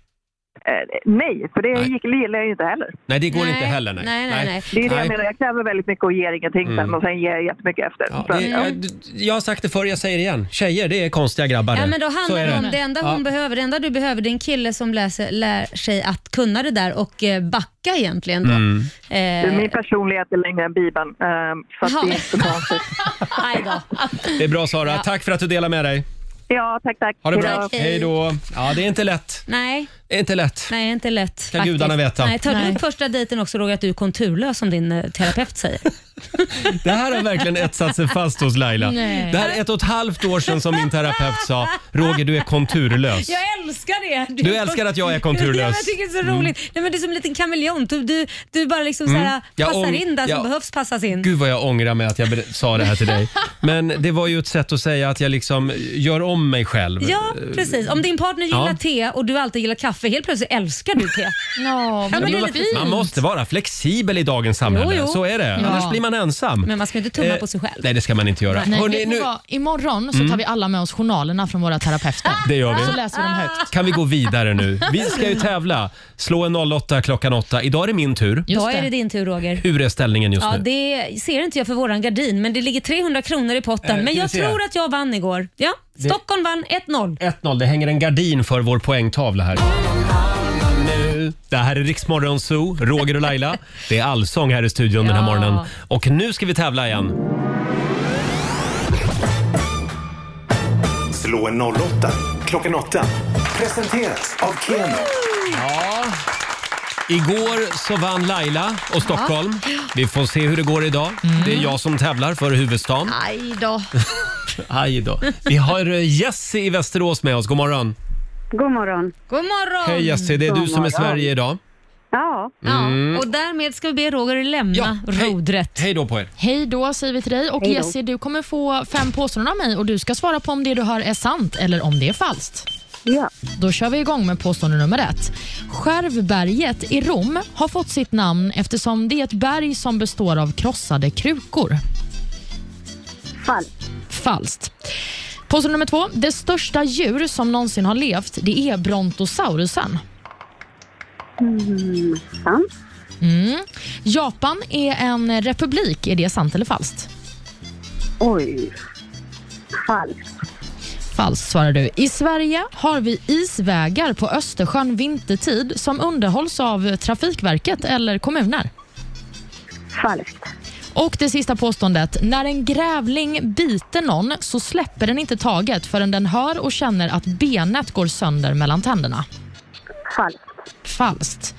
Eh, nej, för det
Nej.
gick, gillar jag ju inte heller.
Nej, det går
Nej,
inte heller. Nej,
nej, nej, nej.
Det är ju det
Nej.
jag menar, jag kräver väldigt mycket och ger ingenting
Mm.
sen och sen ger jag jättemycket efter.
Ja,
Så att,
det,
Mm.
ja.
jag, jag har sagt det förr, jag säger det igen. Tjejer, det är konstiga grabbar.
Ja,
det.
men då
Så
handlar
är
det om
det.
det enda hon
Ja.
behöver, det enda du behöver det är en kille som läser, lär sig att kunna det där och eh, backa egentligen. Då.
Mm.
Eh,
Min personlighet är längre än Bibeln, eh, så att
Jaha.
det är inte så konstigt.
aj då.
Det är bra Sara, tack för att du delar med dig.
Ja, tack, tack.
Ha det
Hej
bra.
då.
Hej då. Ja, det är inte lätt.
Nej,
Det är inte lätt.
nej, inte lätt. Ska
gudarna veta.
Nej, tar
Nej.
du upp första dejten också Roger att du är konturlös som din eh, terapeut säger?
Det här har verkligen etsat sig fast hos Laila.
Nej.
Det här är ett och ett halvt år sedan som min terapeut sa “Roger, du är konturlös”.
älskar det!
Du älskar att jag är konturlös. Mm.
Ja, men jag tycker det är så roligt. Nej, men det är som en liten kameleont. Du, du, du bara liksom så här,
Jag
passar
ång-
in där som
jag-
behövs passas in.
Gud vad jag ångrar mig att jag ber- sa det här till dig. Men det var ju ett sätt att säga att jag liksom gör om mig själv.
Ja, precis. Om din partner gillar
Ja.
te och du alltid gillar kaffe, helt plötsligt älskar du te.
Ja, men
men
det
det
är
är
Man-
fint.
Man måste vara flexibel i dagens samhälle.
Jo, jo.
Så är det. Annars blir man ensam.
Men man ska inte tumma
Eh,
på sig själv.
Nej, det ska man inte göra.
Nej,
Hörrni,
vet ni
nu
vad? Imorgon så tar vi alla med oss journalerna från våra terapeuter.
Det gör vi.
Så läser vi dem högt.
kan vi gå vidare nu. Vi ska ju tävla. Slå en 08 klockan 8. Idag är det min tur.
Just
Då är det din tur Roger.
Hur är ställningen just
Ja,
nu?
det ser inte jag för våran gardin, men det ligger 300 kronor i potten.
Eh,
men
ska vi
jag
se.
tror att jag vann igår. Ja, Stockholm vann 1-0.
1-0. Det hänger en gardin för vår poängtavla här. Nu. Det här är Riksmorgon Zoo, Roger och Laila. Det är allsång här i studion den här
Ja.
morgonen. Och nu ska vi tävla igen.
Slå en 08 klockan 8. Presenteras av Keno.
Igår så vann Laila och Stockholm. Vi får se hur det går idag.
Mm.
Det är jag som tävlar för huvudstaden.
Aj då.
Aj då. Vi har eh, Jesse i Västerås med oss. God morgon.
God morgon.
God morgon!
Hej Jesse, det är du som är Sverige idag.
Ja,
ja, och därmed ska vi be Roger
Mm. Ja,
lämna
hej.
rodret.
Hej då på er.
Hej då säger vi till dig. Och Jesse, du kommer få fem påståenden av mig och du ska svara på om det du hör är sant eller om det är falskt.
Ja.
Då kör vi igång med påstående nummer ett. Skärvberget i Rom har fått sitt namn eftersom det är ett berg som består av krossade krukor.
falskt.
Falskt. Påstående nummer två. Det största djur som någonsin har levt det är brontosaurusen.
Sant.
Japan är en republik. Är det sant eller falskt?
Oj. Falskt.
Falskt svarar du. I Sverige har vi isvägar på Östersjön vintertid som underhålls av Trafikverket eller kommuner.
Falskt.
Och det sista påståendet. När en grävling biter någon så släpper den inte taget förrän den hör och känner att benet går sönder mellan tänderna.
Falskt.
Falskt.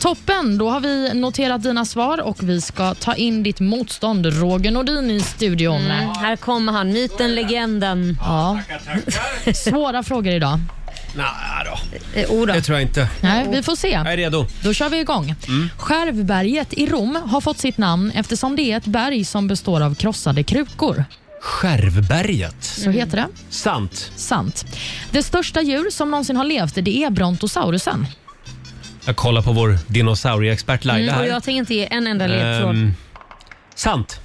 Toppen, då har vi noterat dina svar och vi ska ta in ditt motstånd Roger Nordin i studion.
Här kommer han, myten, legenden.
Ja. Svåra frågor idag.
Nej då,
Eh, Oda.
det tror jag inte.
Nej, vi får se.
Jag är redo.
Då kör vi igång. Skärvberget i Rom har fått sitt namn eftersom det är ett berg som består av krossade krukor.
Skärvberget.
Så heter det.
Sant.
Sant. Det största djur som någonsin har levt det är brontosaurusen.
Jag kollar på vår dinosaurieexpert Laila
Mm, och
här.
jag tänker inte ge en enda ledtråd.
Ehm, sant.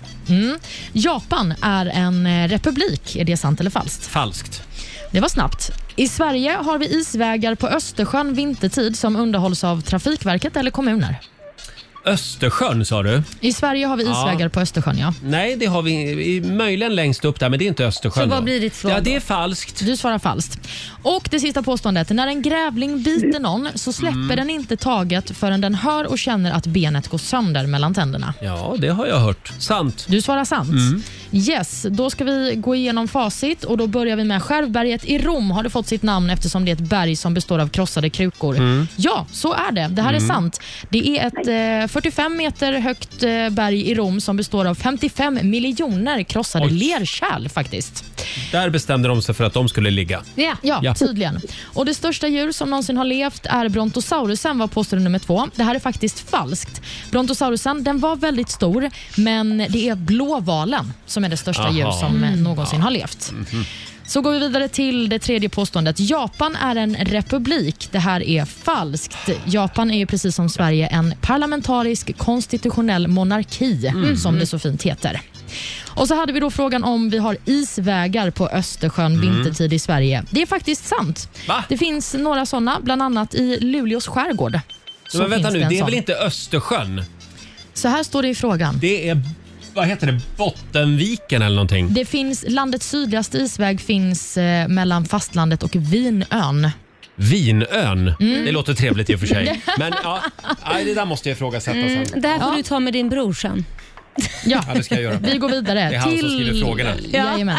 Japan är en eh, republik. Är det sant eller falskt?
Falskt.
Det var snabbt. I Sverige har vi isvägar på Östersjön vintertid som underhålls av Trafikverket eller kommuner.
Östersjön sa du?
I Sverige har vi isvägar på Östersjön, ja.
Nej, det har vi i- möjligen längst upp där, men det är inte Östersjön.
Så vad
då.
blir ditt svar
Ja,
då?
det är falskt.
Du svarar falskt. Och det sista påståendet. När en grävling biter någon så släpper den inte taget förrän den hör och känner att benet går sönder mellan tänderna.
Ja, det har jag hört. Sant.
Du svarar sant. Yes, då ska vi gå igenom facit och då börjar vi med Skärvberget i Rom har det fått sitt namn eftersom det är ett berg som består av krossade krukor. Ja, så är det. Det här är sant. Det är ett eh, 45 meter högt eh, berg i Rom som består av 55 miljoner krossade
Oj.
lerkärl faktiskt.
Där bestämde de sig för att de skulle ligga.
Ja.
Ja,
Ja.
tydligen. Och Det största djur som någonsin har levt är brontosaurusen, var påstående nummer två. Det här är faktiskt falskt. Brontosaurusen den var väldigt stor, men det är blåvalen som är det största
Aha. Mhm.
djur som eh, någonsin har levt. Så går vi vidare till det tredje påståendet. Japan är en republik. Det här är falskt. Japan är ju precis som Sverige en parlamentarisk konstitutionell monarki,
Mm.
som det så fint heter. Och så hade vi då frågan om vi har isvägar på Östersjön vintertid i Sverige. Det är faktiskt sant.
Mm. Va?
Det finns några sådana, bland annat i Luleås skärgård. Så
men vänta
finns
nu,
en
det är
sån.
väl inte Östersjön?
Så här står det i frågan.
Det är, vad heter det, Bottenviken eller någonting?
Det finns, landets sydligaste isväg finns eh, mellan fastlandet och Vinön.
Vinön.
Mm.
Det låter trevligt i och för sig. Men ja, nej, det där måste jag ifrågasätta sen.
Mm.
Det här får du ta med din bror sen.
Ja,
Ja, det ska jag göra.
vi går vidare.
Det är han som
till...
skriver frågorna.
Jajamän.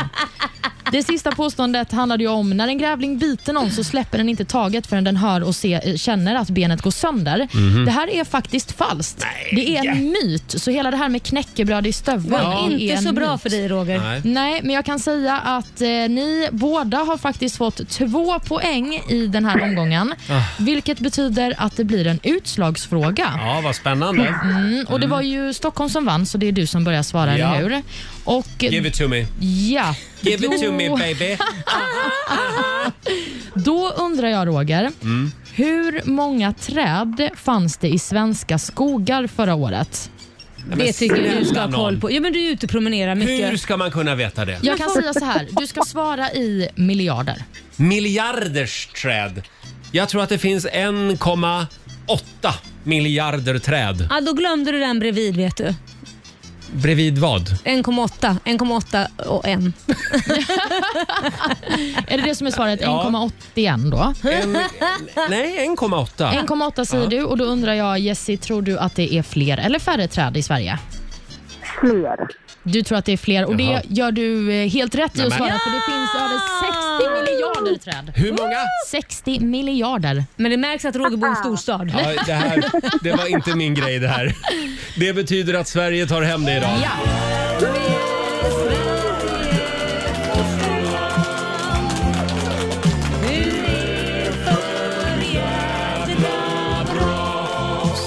Det sista påståendet handlade ju om när en grävling biter någon så släpper den inte taget förrän den hör och se, eh, känner att benet går sönder.
Mhm.
Det här är faktiskt falskt. Det är en myt. Så hela det här med knäckebröd i
Det
stöveln
var
är
inte
en
så bra
myt.
för dig Roger.
Nej.
Nej, men jag kan säga att eh, ni båda har faktiskt fått två poäng i den här omgången.
Ah.
Vilket betyder att det blir en utslagsfråga.
Ja, vad spännande.
Mm, och Det var ju Stockholm som vann, så det är du som börjar svara,
Ja.
eller hur? Och,
Give it to me.
Ja.
Give it to
Då-
me baby.
Då undrar jag, Roger, hur många träd fanns det i svenska skogar förra året?
Det tycker jag du ska
snälla
ha koll
nån.
på. Ja, men du är ute och promenerar mycket.
Hur ska man kunna veta det?
Jag kan säga så här, du ska svara i miljarder.
Miljarders träd. Jag tror att det finns 1,8 miljarder träd.
Ja, då glömde du den bredvid vet du.
Bredvid vad?
1,8, 1,8 och 1.
Är det det som är svaret?
Ja.
1,81 då?
En, nej, 1,8.
1,8 säger du och då undrar jag, Jessie, tror du att det är fler eller färre träd i Sverige?
Fler.
Du tror att det är fler och
Jaha.
det gör du eh, helt rätt i
Nej,
att
men-
svara för det finns över 60 miljarder träd.
Hur många?
60 miljarder.
Men det märks att Roger bor i en storstad.
Ja, det, här, det var inte min grej det här. Det betyder att Sverige tar hem det idag.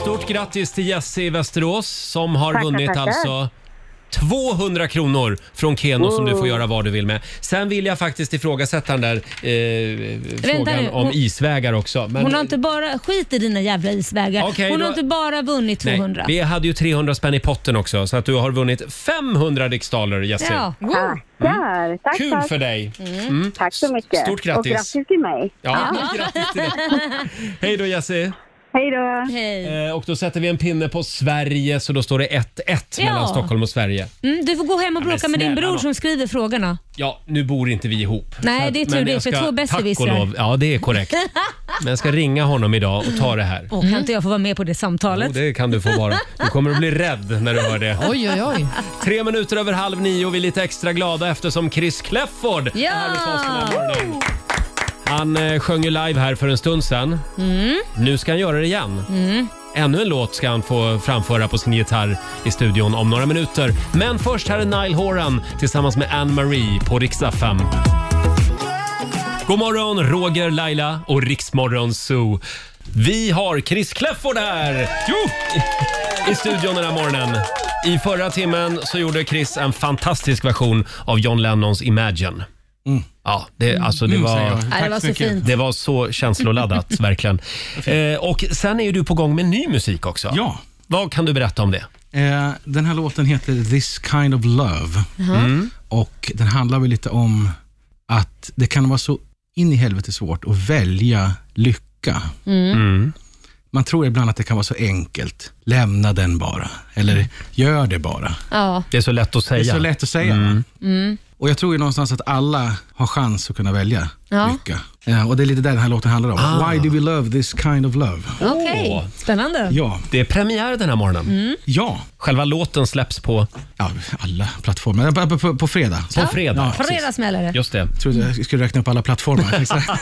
Stort grattis till Jesse i Västerås som har
Tackar,
vunnit
tackar.
alltså 200 kronor från Keno som du får göra vad du vill med. Sen vill jag faktiskt ifrågasätta den där eh, frågan
nu,
om
hon-
isvägar också. Men-
Hon har inte bara, skit i dina jävla isvägar.
Okej,
Hon
då-
har inte bara vunnit
Nej,
200.
vi hade ju 300 spänn i potten också så att du har vunnit 500 riksdaler Jesse.
Ja. Mm.
Tackar. Tack,
Kul
tack.
för dig! Mm.
tack så mycket.
Stort grattis.
Och grattis till mig.
Ja, grattis till dig. Hej då Jesse!
Hej då!
Hej.
Eh, och då sätter vi en pinne på Sverige så då står det 1-1 mellan
Ja.
Stockholm och Sverige.
Mm, du får gå hem och bråka med din
snälla
bror
nån.
som skriver frågorna.
Ja, nu bor inte vi ihop.
Nej,
Så
det är tur
men
det,
jag
för
ska-
två
Tack
besserwissrar.
och lov. Ja, det är korrekt. Men jag ska ringa honom idag och ta det här.
Och kan inte jag få vara med på det samtalet?
Mm. Jo, det kan du få vara. Du kommer att bli rädd när du hör det.
Oj, oj, oj.
Tre minuter över halv nio. Vi är lite extra glada eftersom Chris Clefford
Ja!
är här hos oss den här morgonen. Han eh, sjöng ju live här för en stund sedan. Nu ska han göra det igen. Ännu en låt ska han få framföra på sin gitarr i studion om några minuter. Men först här är Nile Horan tillsammans med Anne Marie på riksdag 5. God morgon, Roger, Laila och Riksmorgon Zoo. Vi har Chris Clefford här! I studion den här morgonen. I förra timmen så gjorde Chris en fantastisk version av John Lennons Imagine. Ja, det, alltså det
Mm. säger jag.
var...
Ja, det
Tack
var
så
så
mycket.
fint.
Det var så känsloladdat, verkligen. Eh, och sen är ju du på gång med ny musik också.
Ja.
Vad kan du berätta om det?
Eh, den här låten heter This kind of love. Mm. Och Den handlar väl lite om att det kan vara så in i helvete svårt att välja lycka.
Mm.
Mm. Man tror ibland att det kan vara så enkelt. Lämna den bara. Eller gör det bara.
Ja.
Det är så lätt att säga. Mm.
Det är så lätt att säga. Och Jag tror ju någonstans att alla har chans att kunna välja
Ja.
lycka. Eh, och Det är lite det den här låten handlar om. Why do we love this kind of love?
Okej,
Åh.
spännande.
Ja,
Det är premiär den här morgonen.
ja.
Själva låten släpps på,
ja alla plattformar. Eh, På, på, på, på fredag.
på fredag.
Ja.
Fredagssmällare.
Just det.
Jag trodde jag skulle räkna upp alla plattformar. Jag tänkte så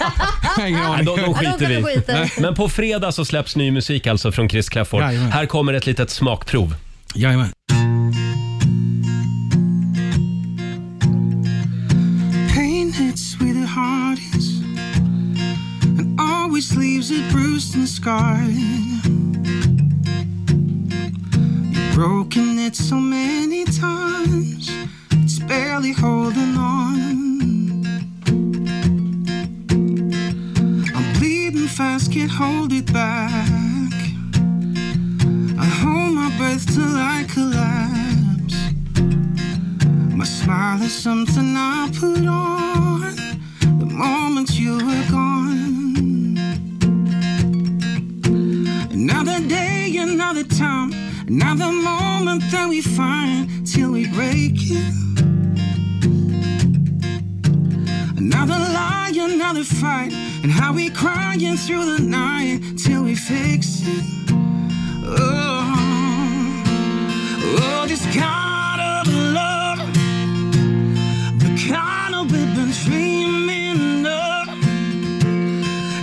här. Ingen
Nej,
aning.
då, då
Ja, då
skiter
kan du gå
vi.
hit där.
Men på fredag så släpps ny musik alltså från Chris Clafford.
Jajamän.
Här kommer ett litet smakprov.
Jajamän.
Pain hits where the heart is and always leaves it bruised and scarred. You've broken it so many times, it's barely holding on. I'm bleeding fast, can't hold it back. I hold my breath till I collapse. My smile is something I put on the moment you were gone. Another day, another time, another moment that we find till we break it. Another lie, another fight, and how we crying through the night till we fix it. Oh. Oh, this kind of love, the kind of we've been dreaming of.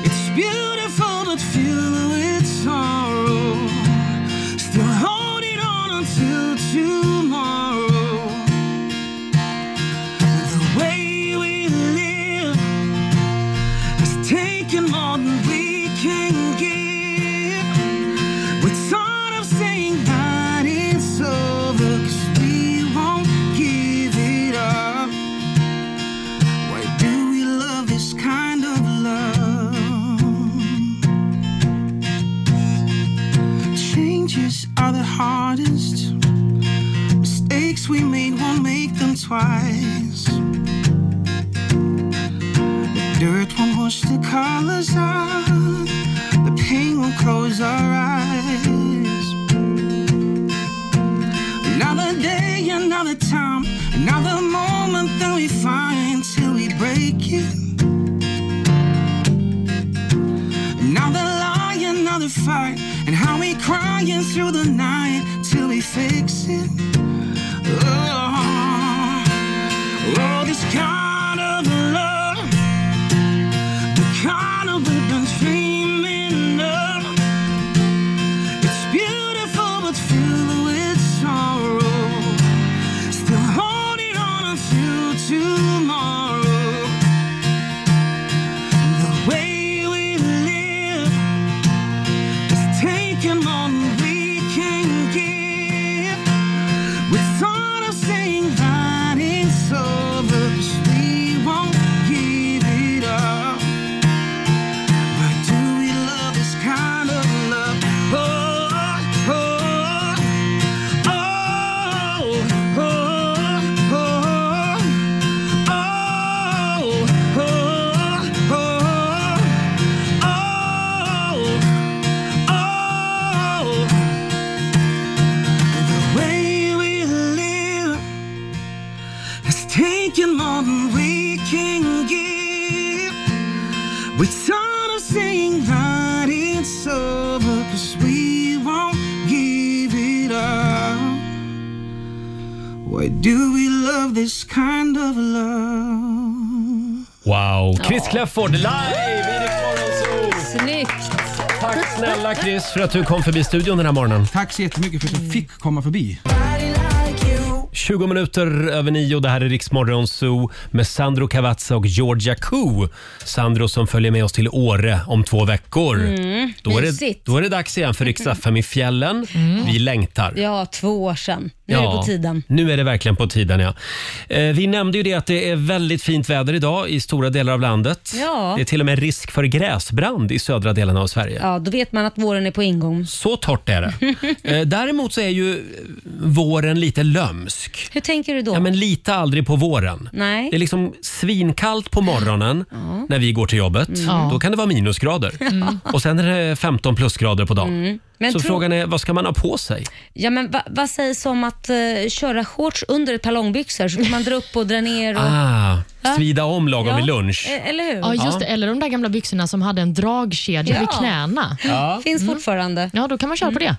It's beautiful, but filled with sorrow. Still holding on until tomorrow. The way we live has taken more than we can give. We're tired of saying that it's over, 'cause we won't give it up. Why do we love this kind of love? Changes are the hardest. Mistakes we made won't make them twice. The dirt won't wash the colors out. The pain will close our eyes. Another day, another time, another moment that we find till we break it. Another lie, another fight, and how we crying through the night till we fix it. Oh, oh this kind of love the kind of we've been dreaming of. It's beautiful but filled with sorrow. Still holding on until tomorrow. The way we live is taken on we can give. We're tired of saying that it's over, 'cause we won't give it up. Why do we love this kind of love? Oh, oh, oh, oh, oh, oh, oh, oh, oh.
Why do we love this kind of love?
Wow! Chris Clafford live i Rix Morgon Zoo.
Snyggt!
Tack snälla Chris för att du kom förbi studion den här morgonen.
Tack så jättemycket för att jag fick komma förbi.
20 minuter över nio. Det här är Riksmorgon Zoo med Sandro Cavazza och Georgia Koo. Sandro som följer med oss till Åre om två veckor.
Mm,
då, är det,
mysigt. Mm.
då är det dags igen för Rix FM i fjällen. Vi längtar.
Ja, två år sedan. Nu är det
Ja,
på tiden.
Nu är det verkligen på tiden. Ja. Eh, vi nämnde ju det att det är väldigt fint väder idag i stora delar av landet.
Ja.
Det är till och med risk för gräsbrand i södra delarna av Sverige.
Ja, då vet man att våren är på ingång.
Så torrt är det. Eh, Däremot så är ju eh, våren lite lömsk.
Hur tänker du då?
Ja, men lita aldrig på våren.
Nej.
Det är liksom svinkallt på morgonen när vi går till jobbet.
Mm.
Då kan det vara minusgrader. Och sen är det 15 plusgrader på dagen.
Mm. Men
så
tro-
frågan är, vad ska man ha på sig?
Ja, men va, vad sägs om att eh, köra shorts under ett par långbyxor så kan man dra upp och dra ner? Och...
Ah,
Ja.
svida om lagom vid lunch.
e- Eller hur?
Ja, just det. Eller de där gamla byxorna som hade en dragkedja
Ja.
vid knäna.
Ja. Mm.
Finns fortfarande.
Ja, då kan man köra på det.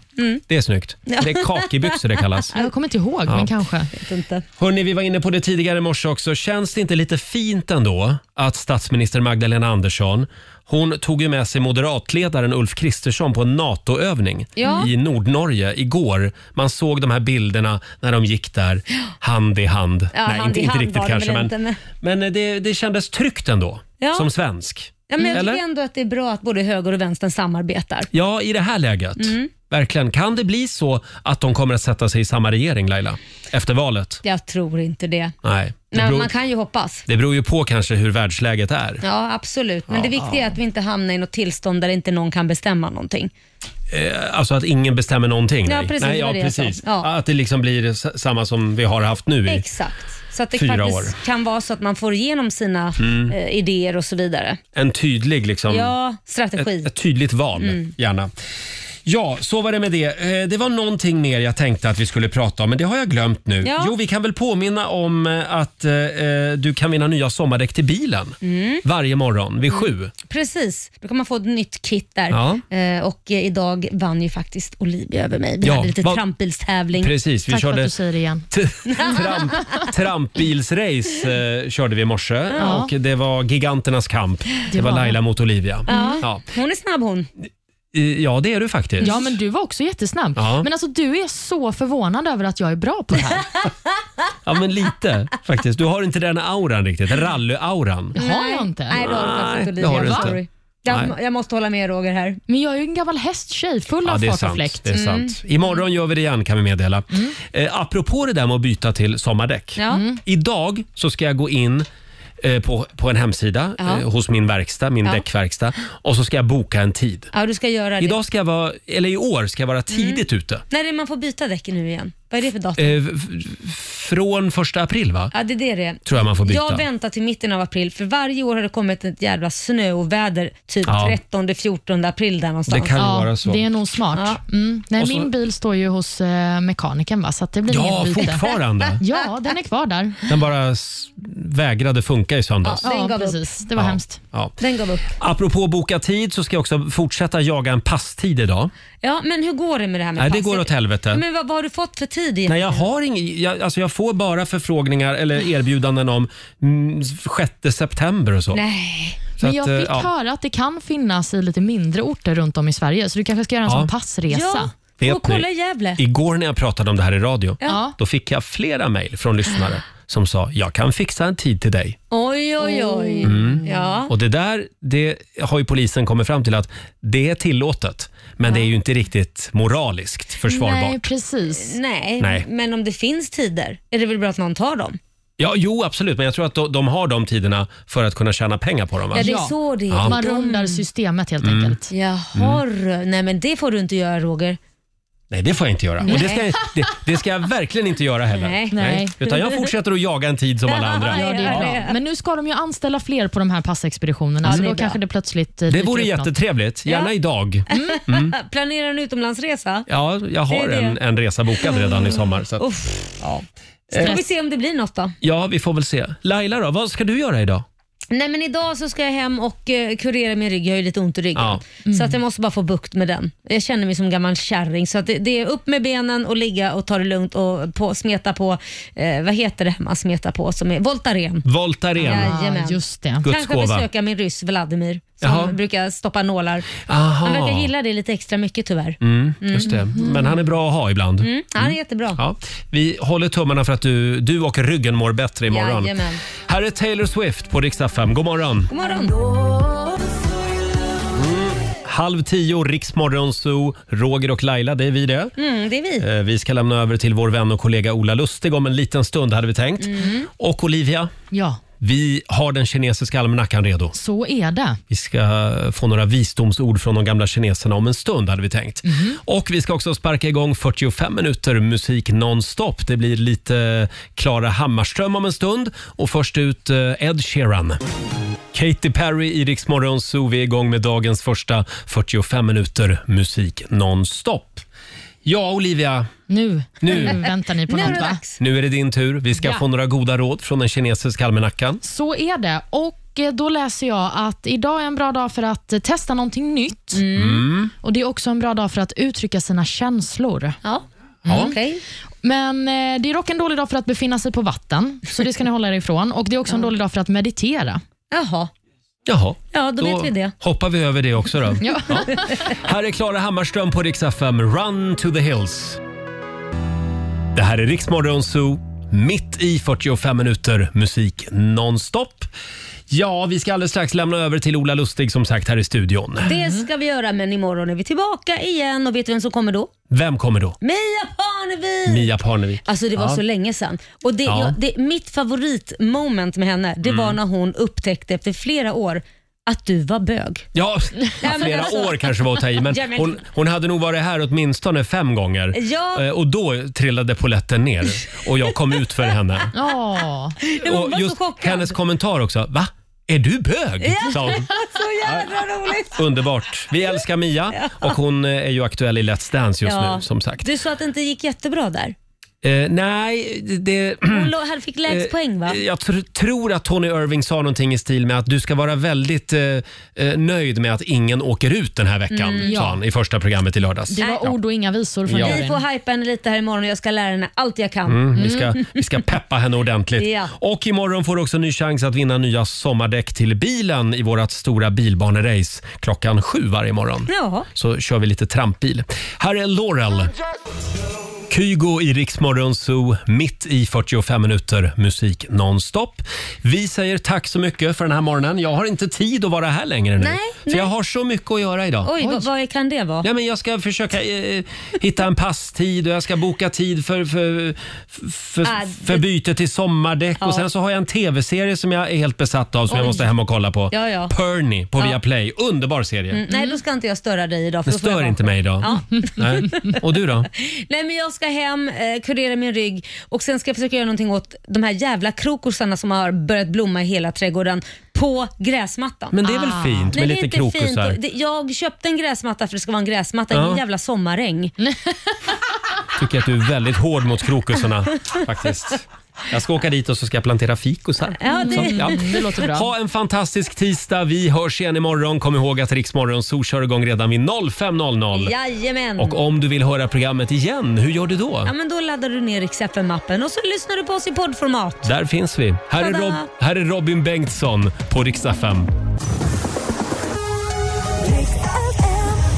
Det är snyggt.
Ja.
Det är kakibyxor det kallas.
Jag kommer inte ihåg,
Ja.
men kanske.
Inte.
Hörrni, vi var inne på det tidigare i morse också. Känns det inte lite fint ändå att statsminister Magdalena Andersson hon tog ju med sig moderatledaren Ulf Kristersson på en NATO-övning
Ja.
i Nordnorge igår. Man såg de här bilderna när de gick där hand i hand.
Ja,
Nej,
hand
inte,
i
inte
hand
riktigt
var det
kanske,
väl
men,
inte, men-
men det, det kändes tryggt ändå
Ja.
som svensk.
Ja, men jag
Eller?
tycker ändå att det är bra att både höger och vänstern samarbetar.
Ja, i det här läget.
Mm.
Verkligen. Kan det bli så att de kommer att sätta sig i samma regering, Laila, efter valet?
Jag tror inte det.
Nej. Det
Men
beror-
man kan ju hoppas.
Det beror ju på kanske hur världsläget är.
Ja, absolut. Men
Ja.
det viktiga är att vi inte hamnar i något tillstånd där inte någon kan bestämma någonting.
Eh, Alltså att ingen bestämmer någonting.
Ja,
nej.
precis,
nej,
det
ja,
var det jag sa.
precis.
Ja.
Att det liksom blir s- samma som vi har haft nu. I.
Exakt. Så att det
Fyra
faktiskt
år.
kan vara så att man får igenom sina
Mm.
eh, idéer och så vidare.
En tydlig liksom,
ja, strategi.
ett, ett tydligt val,
Mm.
gärna. Ja, så var det med det. Eh, Det var någonting mer jag tänkte att vi skulle prata om, men det har jag glömt nu.
Ja.
Jo, vi kan väl påminna om eh, att eh, eh, du kan vinna nya sommardäck till bilen
Mm.
varje morgon vid sju.
Precis, då kan man få ett nytt kit där.
Ja.
Eh, och eh, idag vann ju faktiskt Olivia över mig. Vi
Ja,
hade lite
vad-
trampbilstävling.
Precis, vi Tack för körde- att du
säger
det igen.
Tramp, trampbilsrace eh, körde vi i morse
Ja.
och det var giganternas kamp. Det, var
var det.
Laila mot Olivia.
Ja.
Ja.
Hon är snabb hon.
Eh, ja, det är du faktiskt.
Ja, men du var också jättesnabb.
Ja.
Men alltså, du är så förvånad över att jag är bra på det här.
Ja, men lite faktiskt. Du har inte den auran riktigt, rally-auran.
Det har jag inte.
Nej, det har du faktiskt
Nej,
inte.
det har du
Olivia.
inte.
Sorry.
Nej.
Jag, jag måste hålla med Roger här.
Men jag är ju en gammal hästtjej, full
Ja,
av
det är
fart och
sant.
fläkt.
Det är sant. Imorgon gör vi det igen kan vi meddela. Eh, apropå det där med att byta till sommardäck.
Ja. Mm.
Idag så ska jag gå in eh, på, på en hemsida
Ja.
eh, hos min verkstad, min
Ja.
däckverkstad och så ska jag boka en tid.
Ja, du ska göra det.
Idag ska jag vara, eller i år ska jag vara tidigt ute.
När är det man får byta däck nu igen? Vad är det för datum?
Eh, f- f- från första april va?
Ja, det är det det är.
Tror jag man får byta.
Jag väntar till mitten av april, för varje år har det kommit ett jävla snöoväder typ
Ja.
13-14 april där någonstans.
Det kan ju Ja, vara så.
Det är nog smart. Mm. Nej,
Och så-
min bil står ju hos eh, mekanikern, va? så att det blir
Ja,
ingen byte.
fortfarande.
ja, den är kvar där.
Den bara s- vägrade funka i söndags.
Ja, precis. Det var
Ja.
hemskt.
Ja.
Den gav upp.
Apropå boka tid så ska jag också fortsätta jaga en passtid idag.
Ja, men hur går det med det här med
Nej, det
passet?
går åt helvete.
Men vad, vad har du fått för tid egentligen?
Nej, jag, har ing, jag, alltså jag får bara förfrågningar eller erbjudanden om mm, 6 september och så.
Nej.
Så
Men jag
att, eh,
fick
ja.
höra att det kan finnas i lite mindre orter runt om i Sverige, så du kanske ska göra en
Ja.
sån passresa.
Ja. Vet Och kolla ni, i
Gävle.
Igår när jag pratade om det här i radio,
Ja.
då fick jag flera mejl från lyssnare som sa jag kan fixa en tid till dig.
Oj, oj, oj.
Mm.
Ja.
Och det där det har ju polisen kommit fram till att det är tillåtet, men det är ju inte riktigt moraliskt försvarbart.
Nej,
precis.
Nej,
Nej.
men om det finns tider är det väl bra att någon tar dem?
Ja, jo absolut, men jag tror att de, de har de tiderna för att kunna tjäna pengar på dem. va? Ja.
Man rundar systemet helt
Mm.
enkelt.
Jaha, nej men det får du inte göra Roger.
Nej, det får jag inte göra. Och det, ska jag,
Nej.
det, det ska jag verkligen inte göra heller.
Nej. Nej.
Utan jag fortsätter att jaga en tid som alla andra.
Ja, det är bra. Men nu ska de ju anställa fler på de här passexpeditionerna,
Ja,
så
det
då
är bra.
kanske det plötsligt eh,
Det
dyker
vore
upp något.
jättetrevligt. Gärna
Ja.
idag. Mm.
Planerar en utomlandsresa?
Ja, jag har
Det är det.
en, en resa bokad redan i sommar. Så att,
Uff.
ja.
Så får
Eh,
vi se om det blir något då.
ja, vi får väl se. Laila då, vad ska du göra idag?
Nej men idag så ska jag hem och eh, kurera min rygg. Jag har ju lite ont i ryggen.
Ja.
Så
Mm.
att jag måste bara få bukt med den. Jag känner mig som en gammal kärring. Så att det, det är upp med benen och ligga och ta det lugnt och på, smeta på, eh, vad heter det man smetar på som är Voltaren.
Voltaren.
Jajamän.
Guds
Kanske
gåva.
besöka min ryss Vladimir som
Jaha.
brukar stoppa nålar.
Aha.
Han verkar gilla det lite extra mycket tyvärr.
Mm, just det.
Mm.
Men han är bra att ha ibland.
Mm, han är jättebra.
Ja, vi håller tummarna för att du, du och ryggen mår bättre imorgon.
Jajamän.
Här är Taylor Swift på riksdag 5. God morgon!
God morgon.
Halv tio, Riksmorgon Zoo, Roger och Laila, det är vi det.
Mm, det är vi.
Eh, Vi ska lämna över till vår vän och kollega Ola Lustig om en liten stund hade vi tänkt.
Mm.
Och Olivia,
Ja,
vi har den kinesiska almanackan redo.
så är det.
Vi ska få några visdomsord från de gamla kineserna om en stund hade vi tänkt. Och vi ska också sparka igång 45 minuter musik nonstop. Det blir lite Klara Hammarström om en stund och först ut eh, Ed Sheeran. Katy Perry i Rix Morgon Zoo. Vi är igång med dagens första 45 minuter musik nonstop. Ja, Olivia.
Nu,
Nu.
väntar ni på
Nu är
något
det
va?
Nu är det din tur. Vi ska
Ja.
få några goda råd från den kinesiska almanackan.
Så är det. Och eh, då läser jag att idag är en bra dag för att eh, testa någonting nytt.
Mm.
Och Det är också en bra dag för att uttrycka sina känslor.
Ja. Mm,
Ja.
Men eh, det är dock en dålig dag för att befinna sig på vatten, så det ska ni hålla er ifrån. Och Det är också en dålig dag för att meditera.
Jaha.
Jaha.
Ja, då vet vi det.
hoppar vi över det också då.
Ja.
Här är Klara Hammarström på Rix FM, Run to the Hills. Det här är Rix Morgon Zoo, mitt i 45 minuter musik nonstop. Ja, vi ska alldeles strax lämna över till Ola Lustig som sagt här i studion.
Det ska vi göra, men imorgon är vi tillbaka igen och vet du vem som kommer då?
Vem kommer då?
Mia Parnevik!
Mia Parnevik.
Alltså det var
Ja.
så länge sedan. Och det,
Ja.
jag, det, mitt favoritmoment med henne, det var
Mm.
när hon upptäckte efter flera år att du var bög.
Ja,
Nej, men
flera
alltså-
år kanske var att ta i, men
Ja, men-
hon, hon hade nog varit här åtminstone fem gånger.
Ja.
Eh, Och då trillade poletten ner och jag kom ut för henne.
Ja.
Och just hennes kommentar också. Va? Är du bög? sa hon.
så jävla roligt!
Underbart. Vi älskar Mia och hon eh, är ju aktuell i Let's Dance just
Ja.
nu som sagt.
Du sa att det inte gick jättebra där.
Eh, nej, det...
Hon lo- här fick lägst
Eh,
poäng va?
Jag tr- tror att Tony Irving sa någonting i stil med att du ska vara väldigt eh, eh, nöjd med att ingen åker ut den här veckan,
Mm, ja.
sa han i första programmet i lördags.
Det var ord och inga visor från
Ja.
juryn.
Vi
får hypa henne lite här imorgon och jag ska lära henne allt jag kan.
Mm, vi, ska, vi ska peppa henne ordentligt.
Ja.
Och imorgon får du också en ny chans att vinna nya sommardäck till bilen i vårt stora bilbanerace klockan sju varje morgon.
Ja.
Så kör vi lite trampbil. Här är Laurel. Kygo i Rix Morgon Zoo, mitt i 45 minuter musik nonstop. Vi säger tack så mycket för den här morgonen. Jag har inte tid att vara här längre nu.
Nej,
för jag har så mycket att göra idag.
Oj, vad, vad kan det vara?
Ja, men jag ska försöka eh, hitta en passtid och jag ska boka tid för, för, för,
Ah,
för
det-
byte till sommardäck.
Ja.
Och sen så har jag en tv-serie som jag är helt besatt av som jag
Oj.
måste hem och kolla på.
Ja, ja.
Perny på
Ja.
Viaplay. Underbar serie.
Mm, nej, då ska inte jag störa dig idag. För
Det
då får jag
stör
vara-
inte mig idag.
Ja.
Nej. Och du då?
Nej men jag ska hem, eh, kurera min rygg och sen ska jag försöka göra någonting åt de här jävla krokusarna som har börjat blomma i hela trädgården på gräsmattan.
Men det är väl Ah. fint med
Nej, det är
lite
inte
krokusar?
fint. Det- Jag köpte en gräsmatta för det ska vara en gräsmatta,
Ja.
ingen jävla sommaräng.
Tycker att du är väldigt hård mot krokusarna faktiskt. Jag ska åka dit och så ska jag plantera fikusar.
Ja, det-
Så,
det låter bra.
Ha en fantastisk tisdag. Vi hörs igen imorgon. Kom ihåg att Riksmorgon Zoo kör igång redan vid 05.00.
Jajamän.
Och om du vill höra programmet igen, hur gör du då?
Ja men då laddar du ner Rix FM-appen och så lyssnar du på oss i poddformat.
Där finns vi. Här är,
Tada!
Rob- här är Robin Bengtsson på Riksdag 5.